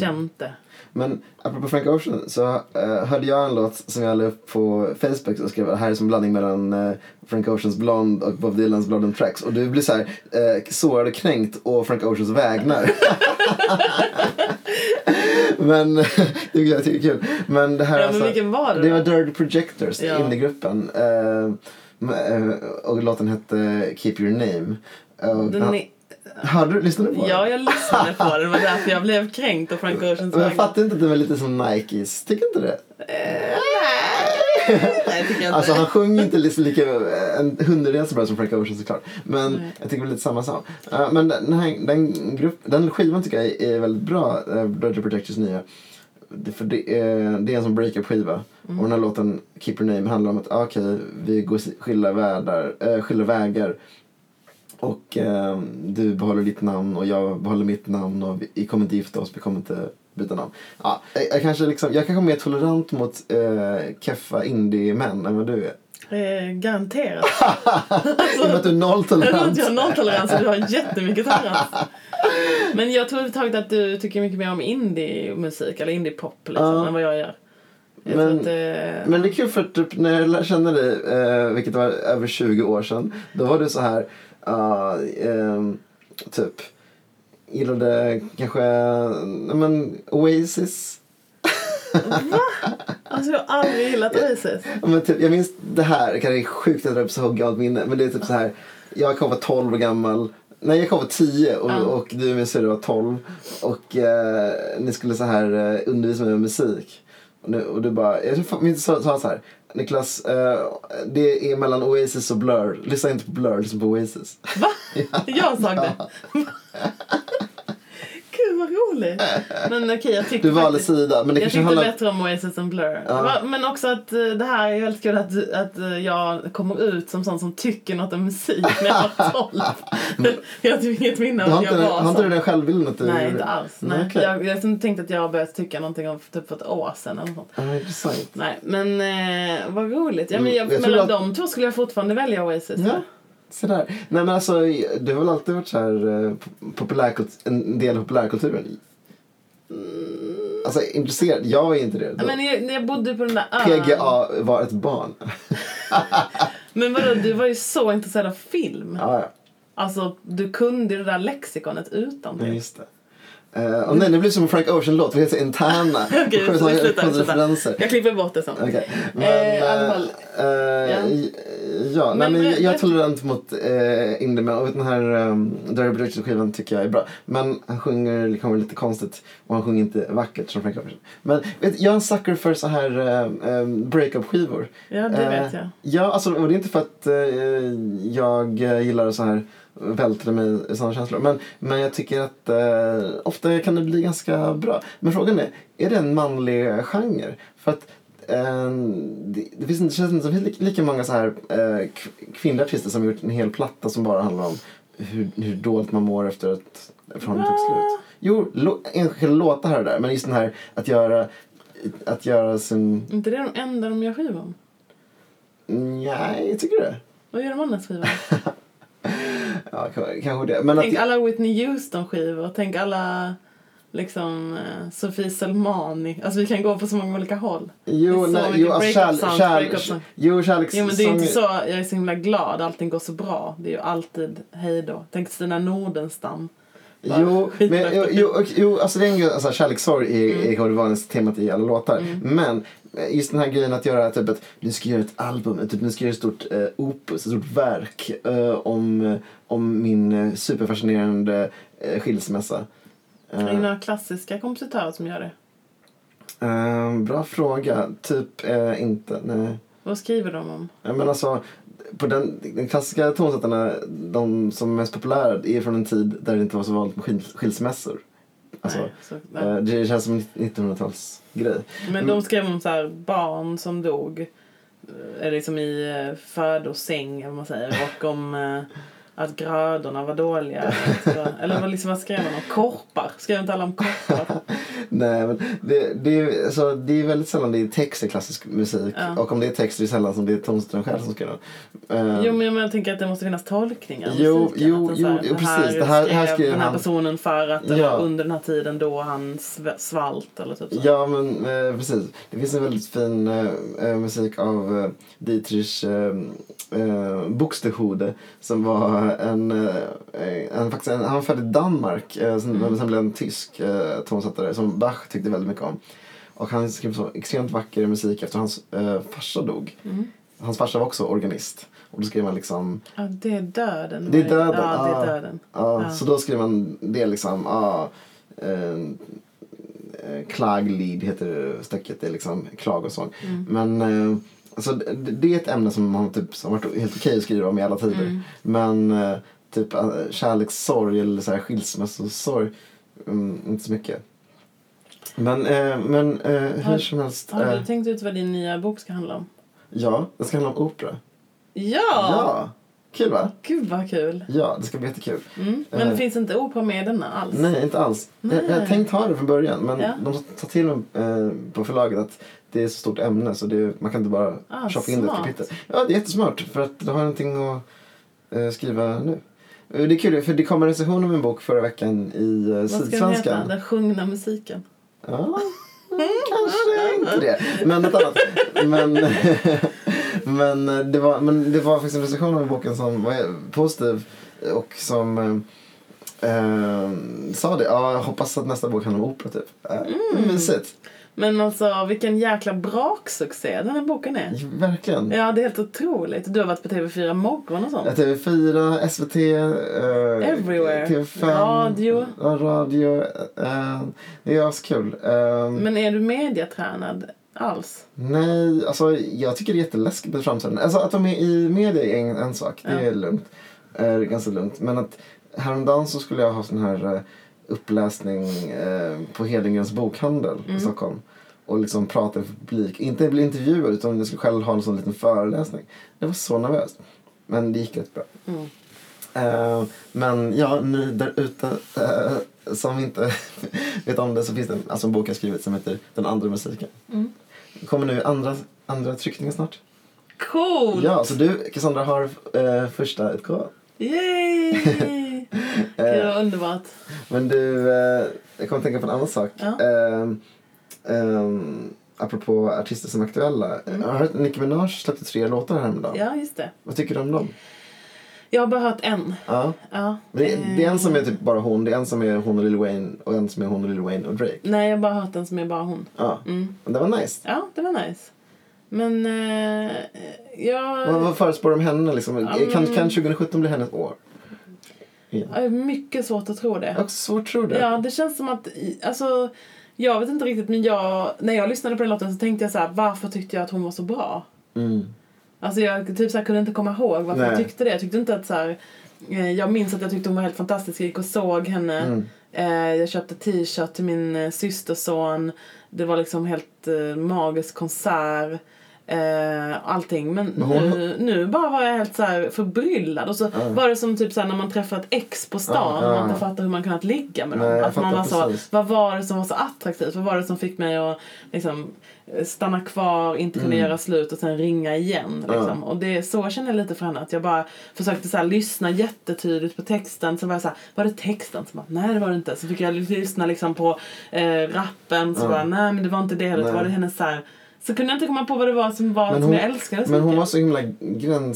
B: känt det.
A: Men apropå Frank Ocean så eh, hörde jag en låt som jag la upp på Facebook och skrev det här är som en blandning mellan eh, Frank Oceans Blond och Bob Dylans Blood and Tracks. Och du blir så här eh, sårad och kränkt och Frank Oceans vägnar. [LAUGHS] men [LAUGHS] det tycker jag är kul. Men det här
B: Ja, men
A: alltså,
B: vilken var det
A: Det
B: då?
A: var Dirty Projectors,
B: Ja.
A: indiegruppen. Eh, m- eh, och låten hette Keep Your Name. Och,
B: Den är,
A: Hörde du? Lyssnade du på den?
B: ja, jag lyssnade på den. Det var därför jag blev kränkt av Frank Oceans
A: Men jag
B: vägnar.
A: fattar inte att den var lite som Nikes. Tycker inte du det?
B: Eh, Nej, tycker jag inte.
A: Alltså han sjöng inte liksom lika en hundradels så bra som Frank Ocean såklart. Men
B: Nej.
A: jag tycker det är lite samma sak. Eh, men den, här, den, grupp, den skivan tycker jag är väldigt bra, uh, Dirty eh, Projectors nya. det, för det, är, det är en sån breakup-skiva.
B: Mm.
A: Och den här låten, Keep Your Name, handlar om att ah, okej, vi går si- skilda, världar, eh, skilda vägar. Och eh, du behåller ditt namn och jag behåller mitt namn och vi, vi kommer inte gifta oss, vi kommer inte byta namn. Ja, jag, jag, kanske liksom, jag kanske är mer tolerant mot eh, keffa indie-män än vad du är.
B: Eh, garanterat.
A: [LAUGHS] I och med att du är
B: Jag tror att
A: nolltolerant.
B: jag har nolltolerans och du har jättemycket tolerans. Men jag tror överhuvudtaget att du tycker mycket mer om indie-musik eller indie-pop liksom,
A: Ja.
B: än vad jag gör. Jag
A: Men-
B: tror att, eh,
A: Men det är kul för typ, när jag lär- kände dig, eh, vilket var över 20 år sedan, då var du så här, ah, ehm, typ, gillade kanske, nej men Oasis.
B: Alltså jag har aldrig gillat Oasis.
A: Ja, Men typ, jag minns det här, det kanske är sjukt att dra upp så gammalt minne, men det är typ så här, jag kommer vara 12 år gammal, nej jag kommer vara 10 och,
B: Ja.
A: och du och min syrra var 12 och eh, ni skulle så här eh, undervisa mig med musik. Och, nu, och du bara, jag tror fan- minns sa, sa så här, Niklas, eh, det är mellan Oasis och Blur, lyssna inte på Blur, lyssna på Oasis.
B: Va? Jag sa det. Gud vad roligt. Men okej jag tycker
A: Du valde
B: faktiskt-
A: sida, men det
B: jag
A: kanske
B: tyckte
A: handlar...
B: bättre om Oasis än Blur.
A: Ja.
B: Va- Men också att eh, det här är väldigt kul att, du- att eh, jag kommer ut som sån som tycker något om musik när jag
A: [LAUGHS]
B: var 12. jag har typ inget minne av
A: Har
B: att jag
A: inte,
B: var
A: har inte
B: sån.
A: du den självbilden att du
B: Nej,
A: gjorde
B: inte
A: det?
B: alls. Nej.
A: okej.
B: Jag, jag liksom tänkte att jag har börjat tycka någonting om typ för ett år sedan eller något.
A: Ja, intressant.
B: Nej, men eh, vad roligt. Ja, men
A: Mm,
B: jag,
A: jag tror
B: mellan
A: att-
B: de två skulle jag fortfarande välja Oasis.
A: Ja, se där. Nej men alltså, du har väl alltid varit så här eh, po- populärkult- en del av populärkulturen? Alltså intresserad? Jag är inte det. Då.
B: Men jag, när jag bodde på den där ön.
A: PGA var ett
B: [LAUGHS]
A: barn.
B: Men vadå, du var ju så intresserad av film.
A: ja, ja.
B: Alltså, du kunde ju det där lexikonet utan
A: Nej, just det. Eh, och nej, det blir som en Frank Ocean-låt. Vi heter interna.
B: [LAUGHS] Okej,
A: Skönt att
B: så vi
A: ha-
B: slutar,
A: skönt
B: slutar.
A: referenser.
B: Jag klipper bort det sen.
A: Okej. Men,
B: Eh, i alla
A: eh,
B: fall.
A: eh, ja, nej,
B: Men-
A: men, jag, jag är
B: men-
A: tolerant mot eh, indiemän och den här um, Dirty Bridges-skivan tycker jag är bra. Men han sjunger liksom lite konstigt och han sjunger inte vackert som Frank Ocean. Men vet, jag är en sucker för så här eh, eh, breakup-skivor.
B: Ja, det
A: Eh,
B: vet jag.
A: Ja, alltså, och det är inte för att eh, jag eh, gillar så här välter mig i sådana känslor. Men, men jag tycker att eh, ofta kan det bli ganska bra. Men frågan är, är det en manlig genre? För att eh, det, det, finns, inte- det känns inte som det finns li- lika många så här eh, kv- kvinnliga artister som har gjort en hel platta som bara handlar om hur, hur dåligt man mår efter att förhållandet tog slut. Jo, lo, enskilda låtar här och där. Men just den här att göra, att göra sin... mm,
B: inte det är de enda de gör skivor om?
A: Nej, tycker du det?
B: Vad gör de annars
A: [LAUGHS]
B: skivor om?
A: Ja, k- kanske det. Men att,
B: Tänk alla Whitney Houston-skivor. Tänk alla liksom eh, Sofie Selmani. Alltså vi kan gå på så många olika håll. det
A: jo,
B: är så
A: nej,
B: mycket
A: jo, alltså,
B: breakup
A: kärl,
B: songs,
A: kärl,
B: breakup songs.
A: jo, kärleks...
B: Jo men det är ju inte så, jag är så himla glad, allting går så bra. Det är ju alltid hej då. Tänk Stina Nordenstam. Bara [LAUGHS]
A: Jo,
B: skit
A: men,
B: efter
A: jo, jo, och- jo, alltså det är en grej, alltså, kärlekssorg är,
B: Mm.
A: är kommer det vara ens temat i alla låtar. Men eh, just den här grejen att göra typ att nu ska jag göra ett album, eh, typ nu ska jag göra ett stort eh, opus, ett stort verk eh, om, eh, om min eh, superfascinerande eh, skilsmässa. Eh,
B: Det är några klassiska kompositörer som gör det.
A: eh, bra fråga. Typ eh, inte, nej.
B: Vad skriver de om?
A: Ja, men alltså, på den, den klassiska tonsättarna, de som är mest populära, är från en tid där det inte var så vanligt med skil- skilsmässor. Alltså,
B: Nej, så, nej.
A: eh, det känns som en 1900-talsgrej.
B: Men de skrev om så här, barn som dog. eh, Eller liksom i eh, födosäng, eller vad man säger. Och om eh, att grödorna var dåliga. Så, eller vad, liksom, vad skrev de om? Korpar? Skrev inte alla om korpar?
A: Nej, men det, det, är, alltså, det är väldigt sällan det är text i klassisk musik.
B: Ja.
A: Och om det är text det är sällan som det är tonsättaren själv som skriver den. Eh,
B: Jo, men jag menar, tänker att det måste finnas tolkningar. av
A: Jo,
B: musiken.
A: jo,
B: Att den så
A: jo,
B: den
A: precis. Det här- här skrev
B: den här
A: han-
B: personen för att det
A: Ja.
B: var under den här tiden då han sv- svalt eller typ så.
A: Ja, men eh, precis. Det finns en väldigt fin eh, eh, musik av eh, Dietrich eh, eh, Buxtehude som var en, eh, eh, en, faktiskt en, han var född i Danmark, eh, sen,
B: Mm.
A: men sen blev en tysk eh, tonsättare som Bach tyckte väldigt mycket om. Och han skrev så extremt vacker musik efter hans eh, farsa dog.
B: Mm.
A: Hans farsa var också organist. Och då skrev man liksom
B: Ja, det är döden.
A: Det är döden,
B: Ja, det
A: ah.
B: är döden.
A: Ja,
B: Ja.
A: Så då skrev man det liksom. Ja, eh, eh, klaglied heter stycket. Det är liksom klagosång.
B: Mm.
A: Men eh, alltså, det, det är ett ämne som har typ, som har varit helt okej att skriva om i alla tider.
B: Mm.
A: Men eh, typ eh, kärlekssorg eller så här skilsmässosorg. Mm, inte så mycket. Men, eh, men eh, hur som helst.
B: Har
A: Eh,
B: du typ- tänkt ut vad din nya bok ska handla om?
A: ja, det ska handla om opera.
B: Ja!
A: Ja! Kul va?
B: Gud vad kul!
A: Ja, det ska bli jättekul.
B: Mm. Men
A: Eh.
B: finns inte opera med i denna alls?
A: Nej, inte alls. Jag, jag
B: Nej.
A: tänkt ha det från början men
B: Ja.
A: de sa till dem eh, på förlaget att det är så stort ämne så det, man kan inte bara
B: Ah,
A: shoppa in det i ett
B: smart.
A: kapitel. Ja, det är jättesmart för att du har någonting att eh, skriva nu. Eh, Det är kul för det kom en recension om en bok förra veckan i eh,
B: Vad ska den heta?
A: Sydsvenskan.
B: Den sjungna musiken.
A: Ja, kanske inte det. Men något annat. Men, [LAUGHS] men, eh, det var, men det var faktiskt en recension av boken som var eh, positiv och som eh, eh, sa det. Ja, jag hoppas att nästa bok handlar om opera typ. Mm. Mysigt.
B: Men alltså vilken jäkla braksuccé den här boken är.
A: Verkligen.
B: Ja, det är helt otroligt. Du har varit på TV4 Morgon och sånt.
A: Ja, TV4, SVT, eh,
B: Everywhere.
A: TV5,
B: Radio.
A: ja, radio eh, det är askul. Eh,
B: Men är du mediatränad alls?
A: Nej, alltså jag tycker det är jätteläskigt med framtiden. Alltså att de är i media är en, en sak, det är lugnt. Är ganska lugnt. Men att häromdagen så skulle jag ha sån här eh, uppläsning eh, på Hedengrens bokhandel i Stockholm. Och liksom prata inför publik. Inte bli intervjuad utan jag skulle själv ha en sån liten föreläsning. Jag var så nervös. Men det gick rätt bra.
B: Mm.
A: Eh, men ja, ni där ute eh, som inte [LAUGHS] vet om det så finns det en, alltså en bok jag skrivit som heter Den andra musiken. Kommer nu andra, andra tryckningen snart.
B: Cool!
A: Ja, så du Cassandra har eh, första utgåvan. [LAUGHS]
B: Yay! Gud, vad underbart.
A: Men du, eh, jag kommer att tänka på en annan sak.
B: Ja.
A: Eh, ehm, apropå artister som är aktuella. Jag har hört att Nicki Minaj släppte tre låtar häromdagen.
B: Mm. Ja, just det.
A: Vad tycker du om dem?
B: Jag har bara hört en.
A: Ja.
B: Ja.
A: Det,
B: eh,
A: det är en som är typ bara hon, det är en som är hon och Lil Wayne och en som är hon och Lil Wayne och Drake.
B: Nej, jag har bara hört den som är bara hon.
A: Ja.
B: Mm.
A: Och Det var nice.
B: Ja, det var nice. Men eh, jag...
A: Vad, vad förespår de henne liksom?
B: Ja,
A: kan,
B: men-
A: kan 2017 bli hennes år? Ja.
B: Jag har mycket svårt att tro det.
A: Jag har också svårt att tro det.
B: Ja, det känns som att... Alltså, jag vet inte riktigt, men jag, när jag lyssnade på den låten så tänkte jag så här, varför tyckte jag att hon var så bra?
A: Mm.
B: Alltså jag typ så här, kunde inte komma ihåg varför
A: Nej.
B: jag tyckte det. Jag tyckte inte att så här, eh, jag minns att jag tyckte hon var helt fantastisk. Jag gick och såg henne.
A: Mm.
B: Eh, jag köpte t-shirt till min eh, systerson. Det var liksom helt eh, magisk konsert. Eh, allting. Men
A: Men hon-
B: nu, nu bara var jag helt så här förbryllad. Och så var det som typ så här, när man träffar ett ex på stan
A: Ja,
B: och
A: ja.
B: man inte fattar hur man kunnat ligga med
A: Nej,
B: dem.
A: jag
B: att man alltså
A: fattar
B: var så,
A: precis.
B: vad var det som var så attraktivt? Vad var det som fick mig att liksom, eh, stanna kvar, inte
A: Mm.
B: kunna göra slut och sen ringa igen? Liksom. Och det, så känner jag lite för henne. Att jag bara försökte så här, lyssna jättetydligt på texten. Sen var jag så här, var det texten? Så bara, nej det var det inte. Så fick jag lyssna liksom, på eh, rappen. Så bara, nej men det var inte det. heller.
A: Nej.
B: Det var det hennes så här, så kunde jag inte komma på vad det var som, var,
A: Men
B: som
A: hon-
B: jag älskade så
A: Men hon var
B: mycket.
A: så himla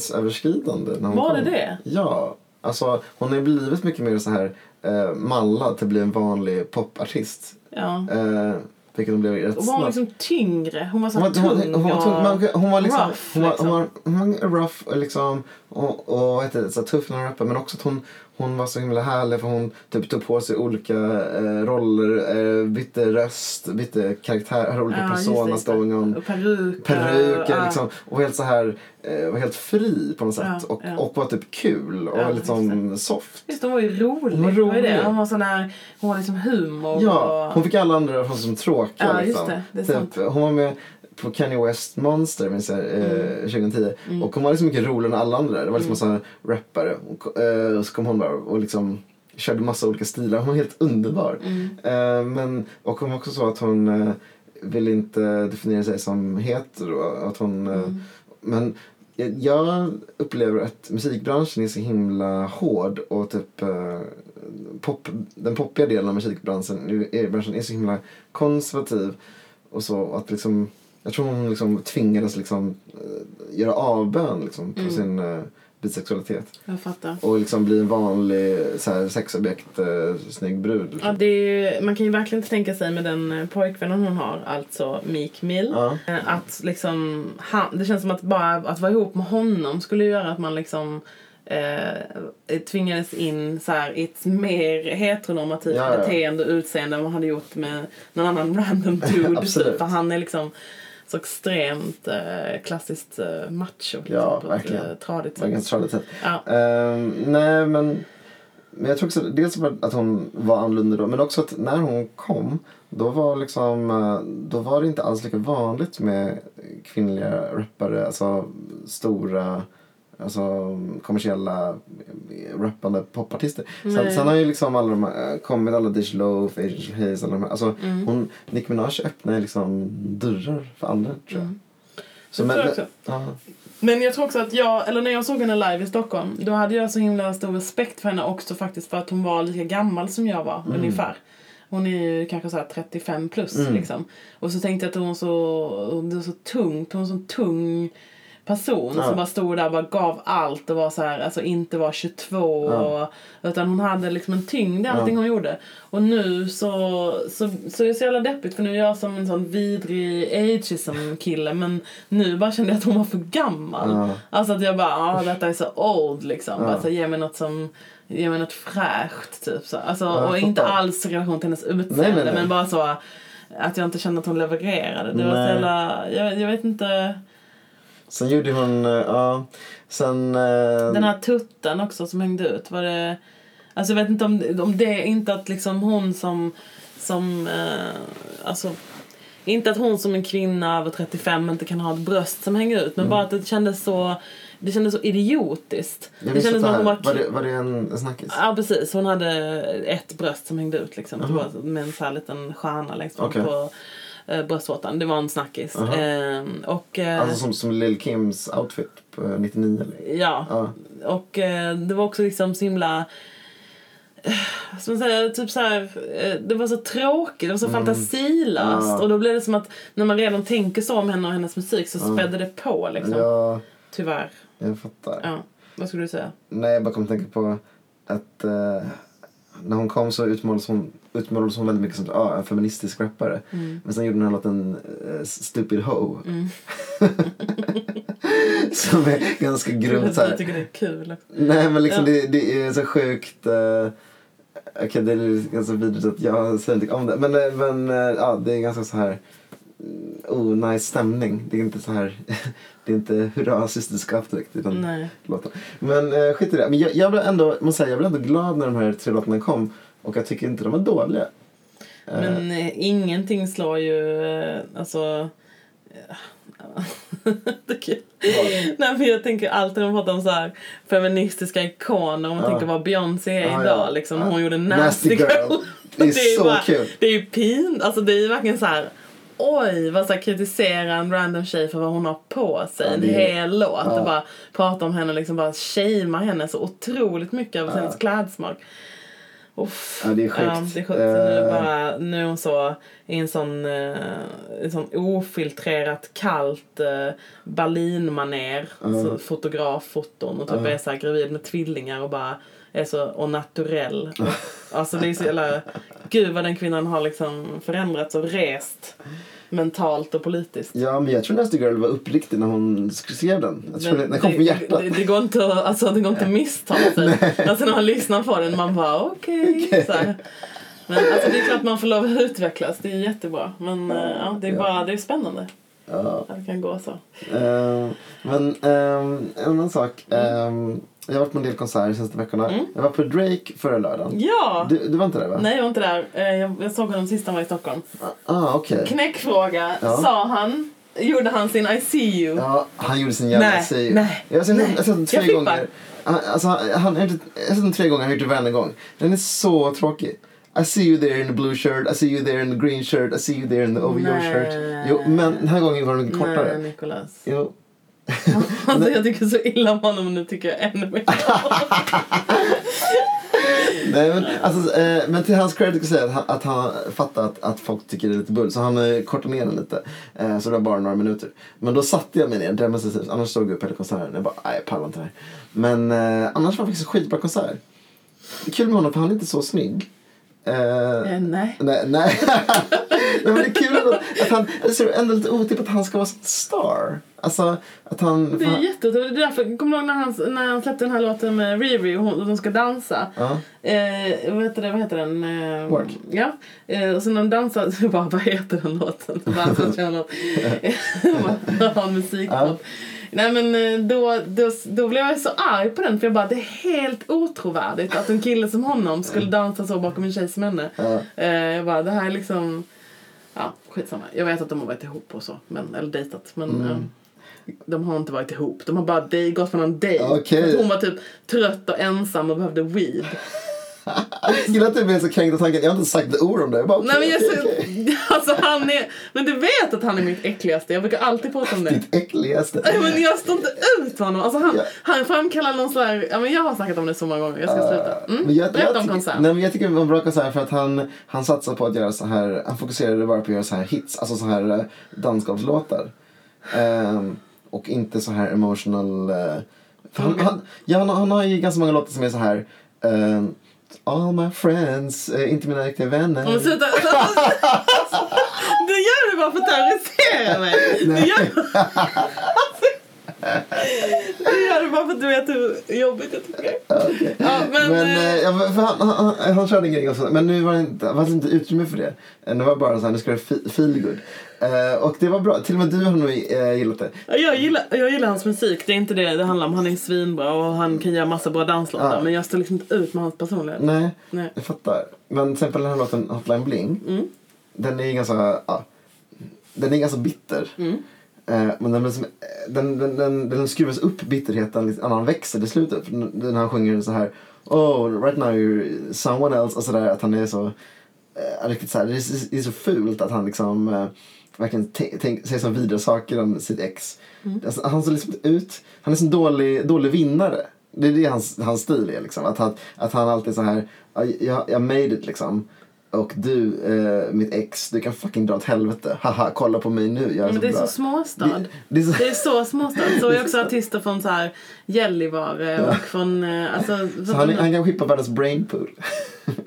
A: gränsöverskridande när hon
B: Var
A: kom.
B: det det?
A: Ja. Alltså, hon har ju blivit mycket mer så här eh, mallad till att bli en vanlig popartist.
B: Ja.
A: Eh, vilket hon blev rätt
B: Och var hon
A: snabbt.
B: liksom tyngre? Hon var så
A: Hon
B: här
A: var, hon, var- hon,
B: tung
A: var tung,
B: och...
A: men hon var liksom,
B: rough,
A: hon var,
B: liksom.
A: hon var, hon var rough och liksom och, och vad heter det, så här tuff när hon rappade men också att hon, hon var så himla härlig för hon typ tog på sig olika eh, roller, eh, bytte röst, bytte karaktär, hade olika
B: Ja, just det,
A: personas
B: just det.
A: gång om
B: Och peruker.
A: peruker
B: ja.
A: liksom och var helt så här eh, var helt fri på något sätt
B: Ja,
A: och,
B: ja.
A: och var typ kul och
B: Ja,
A: var liksom soft.
B: Just hon var ju rolig.
A: Hon var
B: Det var ju
A: rolig.
B: det. Hon var sån här, hon var liksom humor
A: Ja,
B: och...
A: hon fick alla andra att framstå som tråkiga.
B: Ja, just
A: liksom.
B: det. Det är
A: typ, hon var med på Kanye West Monster minns jag, eh,
B: Mm.
A: 2010 och hon var liksom mycket roligare än alla andra. Det var liksom mm. sån här rappare och, eh, och så kom hon bara och liksom körde massa olika stilar. Hon var helt underbar.
B: Mm.
A: Eh, men, och hon var också så att hon eh, vill inte definiera sig som hetero. Att hon, eh,
B: Mm.
A: Men jag- jag upplever att musikbranschen är så himla hård och typ eh, pop, den poppiga delen av musikbranschen nu är, branschen är så himla konservativ och så att liksom jag tror hon liksom tvingades liksom eh, göra avbön liksom på sin eh, bisexualitet
B: Jag fattar.
A: och liksom bli en vanlig så här, sexobjekt eh, snygg brud.
B: Ja,
A: Liksom.
B: det är ju, man kan ju verkligen tänka sig med den eh, pojkvännen hon har, alltså Meek Mill.
A: Ja.
B: eh, Att liksom, han, det känns som att bara att vara ihop med honom skulle göra att man liksom eh, tvingades in så här, i ett mer heteronormativt
A: Ja, ja.
B: beteende och utseende än vad man hade gjort med någon
A: [LAUGHS]
B: annan random dude.
A: Absolut.
B: typ. För han är liksom så extremt eh, klassiskt eh, macho. Liksom,
A: Ja,
B: på ett,
A: verkligen.
B: eh, tradigt
A: Det var
B: sätt.
A: ganska tradigt.
B: Ja.
A: Ehm, nej men Men jag tror också dels var att hon var annorlunda då men också att när hon kom då var, liksom, eh, då var det inte alls lika vanligt med kvinnliga rappare, alltså stora alltså kommersiella eh, rappande popartister. Sen,
B: Nej.
A: sen har ju liksom alla de här eh, kommit, alla Dish Loaf, Angel Hayes, alla de här. Alltså,
B: Mm.
A: hon, Nicki Minaj öppnar ju liksom dörrar för andra tror jag. Så,
B: Jag
A: men,
B: Mm. tror också.
A: ja.
B: Men jag tror också att jag, eller när jag såg henne live i Stockholm, då hade jag så himla stor respekt för henne också faktiskt för att hon var lika gammal som jag var
A: Mm.
B: ungefär. Hon är ju kanske så här 35 plus liksom. Och så tänkte jag att hon så, det var så tungt, hon var en sån tung person
A: Ja.
B: som bara stod där och bara gav allt och var så här, alltså inte var 22 och, utan hon hade liksom en tyngd i allting hon gjorde. Och nu så, så, så är det så jävla deppigt för nu är jag som en sån vidrig ageism kille men nu bara kände jag att hon var för gammal.
A: Ja.
B: Alltså att jag bara, ah, detta är så old liksom. Bara så här, ge mig något som, ge mig något fräscht typ så. Alltså,
A: jag
B: och inte
A: fattar.
B: alls i relation till hennes utseende
A: Nej, nej, nej.
B: men bara så att jag inte kände att hon levererade. Det var
A: Nej.
B: så jävla, jag, jag vet inte.
A: Sen gjorde hon, eh, ja, sen... eh,
B: Den här tutten också som hängde ut, var det... Alltså jag vet inte om, om det är inte att liksom hon som... som eh, alltså, inte att hon som en kvinna över 35 inte kan ha ett bröst som hänger
A: Mm.
B: ut men bara att det kändes så, det kändes så idiotiskt.
A: jag
B: det
A: minns
B: kändes
A: att det
B: som att hon
A: här-
B: var...
A: var, det, var det en snackis?
B: Ja precis, hon hade ett bröst som hängde ut liksom. Det var med en så här liten stjärna längst fram
A: Okej.
B: på eh, bröstvårtan. Det var en snackis. Eh, och, eh,
A: Alltså som, som Lil Kims outfit på 99 eller?
B: ja.
A: Ja.
B: Och eh, det var också liksom så himla... eh, vad ska man säga, typ så här, eh, det var så tråkigt, det var så fantasilöst.
A: Mm. Ja.
B: Och då blev det som att när man redan tänker så om henne och hennes musik så spädde det på liksom.
A: Ja,
B: Tyvärr.
A: jag fattar.
B: Ja. Vad skulle du säga?
A: Nej, jag bara kom att tänka på att eh, när hon kom så utmålades hon, utmålades hon väldigt mycket som ah, en feministisk rappare.
B: Mm.
A: Men sen gjorde hon den här låten eh, Stupid Ho. [LAUGHS] som är ganska grymt så
B: Jag
A: här.
B: tycker det är kul.
A: Nej men liksom
B: Ja.
A: det, det är så sjukt. Eh, Okej det är ganska vidrigt att jag säger någonting om det. Men, eh, men eh, ja, det är ganska så här mm, onajs stämning. Det är inte så här. [LAUGHS] det är inte hurra systerskap direkt. Utan
B: Nej.
A: låten. Men eh, skit i det. Men jag, jag, blev ändå, måste säga, jag blev ändå glad när de här tre låtarna kom. Och jag tycker inte de var dåliga.
B: Men eh, ingenting slår ju... Eh, alltså... eh, [LAUGHS] det är kul. Nej, men jag tänker alltid när man pratar om så här feministiska ikoner om man
A: Ja.
B: tänker vad Beyoncé är
A: Ja,
B: idag.
A: ja.
B: Liksom,
A: Ja.
B: Hon gjorde
A: Nasty
B: Nasty Girl. [LAUGHS]
A: Girl. Det är
B: ju
A: så kul.
B: Det är ju pin, alltså det är ju verkligen så här Oj, vad så här, kritisera en random tjej för vad hon har på sig.
A: Ja,
B: en
A: det är-
B: hel låt.
A: Ja.
B: Och bara prata om henne och liksom bara shamea henne så otroligt mycket över hennes klädsmak. Uff.
A: Ja, det är sjukt.
B: Ja, det är sjukt. Så nu, är det
A: Eh.
B: bara, nu är hon så i en sån, eh, en sån ofiltrerat kallt eh, Berlin-manér. Så fotograffoton och typ är så här gravid med tvillingar och bara är så
A: [LAUGHS]
B: och naturell. alltså det är så jävla... Gud vad den kvinnan har liksom förändrats och rest mentalt och politiskt.
A: Ja men jag tror Nasty Girl var uppriktig när hon sk- skrev den. Jag tror
B: Men
A: den, den kom från hjärtat.
B: Det, det, går inte att, alltså, det går inte att misstala
A: [LAUGHS]
B: sig. alltså, när man lyssnar på den, man bara okej. så här. Men alltså, det är klart man får lov att utvecklas, det är jättebra. Men eh, ja, det är
A: Ja.
B: bara det är spännande
A: Ja.
B: att det kan gå så.
A: Eh, men ehm, en annan sak. Ehm, jag har varit på en del konserter de senaste veckorna. Jag var på Drake förra lördagen.
B: Mm. Ja!
A: Du, du var inte där va?
B: Nej, jag var inte där. Eh, Jag, jag såg honom sist han var i Stockholm.
A: Ah, okej.
B: Knäckfråga,
A: Ja.
B: sa han. Gjorde han sin I see you?
A: Ja, han gjorde sin jävla
B: Nej,
A: sig.
B: nej,
A: jag har sett den- jag har sett den
B: nej.
A: tre
B: Jag fippar.
A: gånger. Han, alltså, han, han, jag har inte- jag har sett den tre gånger, han har gjort det varenda gång. Den är så tråkig. I see you there in the blue shirt, I see you there in the green shirt, I see you there in the over your
B: Nej.
A: shirt. Jo, men den här gången var den kortare.
B: Nej, Nicolas.
A: Jo.
B: Alltså, jag tycker så illa om honom och nu tycker jag ännu mer.
A: [LAUGHS] Nej, men, alltså, eh, men till hans credit ska jag säga att han, att han fattar att, att folk tycker det är lite bull. Så han eh, kortade ner den lite. Eh, så det var bara några minuter. Men då satte jag mig ner demonstrativt. Annars stod jag upp hela konserten. Jag bara, nej jag pallar inte det här. Men eh, annars var det faktiskt en skitbra konsert. Det är kul med honom för han är inte så snygg. Eh,
B: Eh, Nej.
A: Nej, nej. [LAUGHS] nej men det är kul ändå att han, alltså, det är ändå lite otippat att han ska vara en star. Alltså att han...
B: Det är jätteotroligt. Det är därför, kommer du ihåg när han, när han släppte den här låten med Riri och hon, och de ska dansa?
A: Ja.
B: Eh, vad, heter det, vad heter den? Eh,
A: Work.
B: Ja. Eh, och sen när de dansar [LAUGHS]
A: [LAUGHS]
B: så bara, vad heter den låten? Bara, så känner jag något. Bara, har en musiknot. Nej men eh, då, då, då blev jag så arg på den för jag bara det är helt otrovärdigt att en kille som honom skulle dansa så bakom en tjej som henne.
A: Ja.
B: Eh, jag bara det här är liksom, ja skitsamma. Jag vet att de har varit ihop och så, men, eller dejtat men
A: Mm.
B: eh, de har inte varit ihop. De har bara dej, gått på någon dejt.
A: Okej.
B: För att Hon var typ trött och ensam och behövde weed.
A: Gillar att du blir så kränkt av tanken. Jag har inte sagt ett ord om det. Jag bara, okay,
B: Nej men jag,
A: okej,
B: så,
A: okej.
B: [LAUGHS] alltså han är, men du vet att han är mitt äckligaste. Jag brukar alltid prata om det.
A: Ditt äckligaste.
B: Nej, men jag står inte ut med honom. Alltså han,
A: Ja.
B: han framkallar någon sån här... Ja, men jag har snackat om det så många gånger. Jag ska sluta.
A: Ah,
B: Mm.
A: Men jag,
B: Berätta
A: jag,
B: om
A: tycker,
B: konsert.
A: nej, men jag tycker det var en bra konsert för att han, han satsade på att göra så här, han fokuserade bara på att göra så här hits, alltså så här eh, dansgolvslåtar. Ehm, och inte så här emotional. eh, för
B: Mm.
A: han, han, ja, han, han har ju ganska många låtar som är så här. ehm, all my friends, eh, inte mina riktiga vänner. [LAUGHS]
B: Men sluta. Du gör det bara för att terrorisera mig. Du
A: Nej.
B: gör, du gör det bara för att du vet hur jobbigt jag tycker.
A: Okej.
B: Ja, men,
A: Men,
B: eh,
A: eh, ja, men för han, han, han, han körde en grej också, men nu var det inte, det fanns inte utrymme för det. Eh, Det var bara så här, nu ska det fe- feel good. Eh, och det var bra, till och med du har nog eh, gillat det.
B: Ja, Jag gillar, jag gillar hans musik, det är inte det det handlar om. Han är svinbra och han kan göra massa bra danslåtar.
A: Ja.
B: Men jag står liksom inte ut med hans personlighet.
A: Nej,
B: Nej. Mm.
A: jag fattar. Men till exempel den här låten Hotline Bling. Den är ju ganska, ja, den är ganska bitter. Eh, men den, blir som, eh, den, den, den, den skruvas upp bitterheten lite, annan växer till slutet. För Den den han sjunger så här Oh, right now you're someone else och sådär. Att han är så, eh, riktigt så här, det är, det är så fult att han liksom eh, verkligen te- tänk- säger så vidare saker om sitt ex. Alltså, han ser liksom ut, han är som en dålig, dålig vinnare. Det är det hans, hans stil är liksom. Att han, att han alltid är så här, "Ja, jag, jag made it liksom. Och du, eh, mitt ex, du kan fucking dra åt helvete. Haha, kolla på mig nu, jag är
B: Men
A: så
B: det
A: alltså,
B: är
A: bra.
B: så småstad.
A: Det, det är så,
B: Det är så småstad. Så är också artister från så här Gällivare och från... eh, Alltså,
A: så han, är- han kan skippa världens brainpool. [LAUGHS]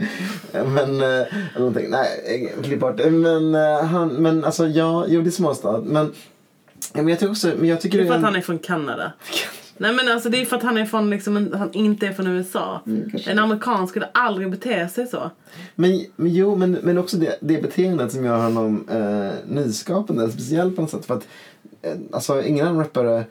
A: men, eh, eller någonting. Nej, eh, klipp bort det. Men, eh, han, men alltså, ja, jo det är småstad. Men, ja, men jag tycker också, men jag tycker
B: det är för att
A: en-
B: han är från Kanada. Nej men alltså det är för att han är från liksom, en- han inte är från USA.
A: Mm, kanske.
B: en amerikan skulle aldrig bete sig så.
A: Men, men jo, men, men också det, det beteendet som gör honom eh, nyskapande, speciell på något sätt. För att, eh, alltså, ingen annan rappare,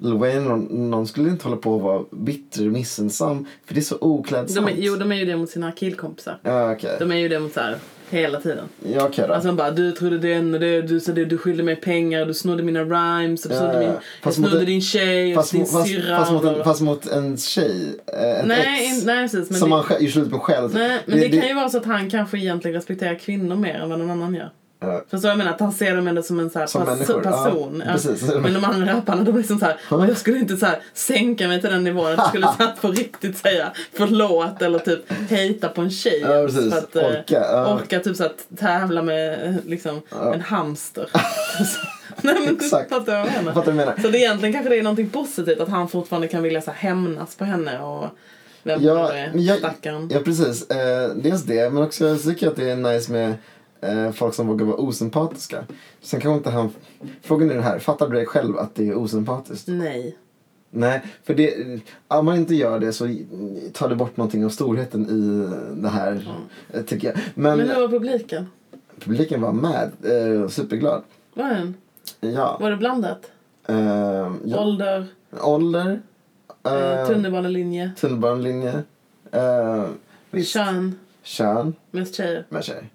A: Lil Wayne, någon, någon skulle inte hålla på att vara bitter och missunnsam, för det är så
B: De
A: oklädsamt.
B: är, jo de är ju det mot sina killkompisar.
A: Ja, okej.
B: De är ju det mot så här hela tiden.
A: Ja, okej då.
B: Alltså de bara du trodde den och det, du sa det, du skyllde mig pengar, du snodde mina rhymes, du
A: Ja,
B: snodde, min,
A: ja.
B: jag
A: Fast mot
B: snodde
A: en-
B: din tjej och
A: fast,
B: din
A: mo- fast,
B: syrra.
A: fast, mot en,
B: och-
A: fast mot en tjej, eh, ett
B: nej,
A: ex,
B: in- nej precis. Men
A: som
B: det,
A: man själv gör slut med själv.
B: nej, men det, kan ju vara så att han kanske egentligen respekterar kvinnor mer än vad någon annan gör.
A: Ja.
B: Förstår du vad jag menar? Att han ser dem ändå som en så här
A: Som
B: perso-
A: människor, ja,
B: person. Ja.
A: precis.
B: Men de andra rapparna de är liksom så här, "Åh, jag skulle inte så här sänka mig till den nivån att jag skulle så här på riktigt säga förlåt eller typ hejta på en tjej.
A: Ja, precis.
B: För att, eh,
A: Orka, ja.
B: orka typ så att tävla med eh, liksom,
A: [LAUGHS]
B: en hamster. Nej, men
A: Exakt.
B: Fattar du vad jag
A: Jag
B: menar?
A: fattar vad du menar.
B: Så det egentligen kanske det är någonting positivt att han fortfarande kan vilja så här, hämnas på henne och vem
A: Ja,
B: det är,
A: men jag,
B: stackaren.
A: ja precis. Eh, dels det, men också jag tycker jag att det är nice med eh, folk som vågar vara osympatiska. Sen kanske inte han... Frågan är det här, fattar du dig själv att det är osympatiskt?
B: Nej.
A: Nej, för det, om man inte gör det så tar det bort någonting av storheten i det här, eh, tycker jag. Men,
B: Men hur var publiken?
A: publiken var med, eh, superglad.
B: Var, den?
A: Ja.
B: var det blandat?
A: Eh, ja.
B: Ålder?
A: Ålder.
B: Eh,
A: Eh,
B: tunnelbanelinje.
A: Tunnelbanelinje. Eh, visst.
B: Kön.
A: Kön.
B: Mest tjejer.
A: Med tjej.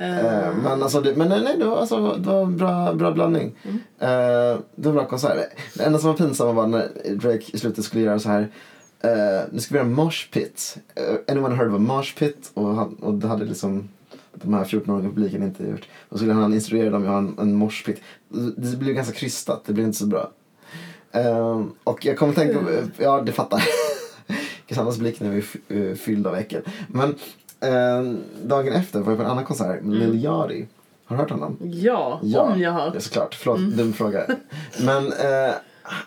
B: Eh,
A: Eh, men alltså, det, men nej, nej, det var, alltså, det var en bra, bra blandning. Eh, det var en bra konsert. Det enda som var pinsamma var när Drake i slutet skulle göra så här. eh, nu ska vi göra en mosh pit. Eh, anyone heard of a mosh pit? Och, han, och det hade liksom de här 14-åriga publiken inte gjort. Och så skulle han instruera dem att göra en, en mosh pit. Det blev ganska krystat, det blev inte så bra. Eh, och jag kommer tänka på,
B: Mm.
A: ja det fattar [LAUGHS] Cassandras blick när vi är f- eh, fyllda av äckel. Men eh, dagen efter var jag på en annan konsert med Lil Yachty. Har du hört honom?
B: ja, Mm. om jag har. Mm.
A: Ja, såklart. Förlåt, dum fråga. Men eh,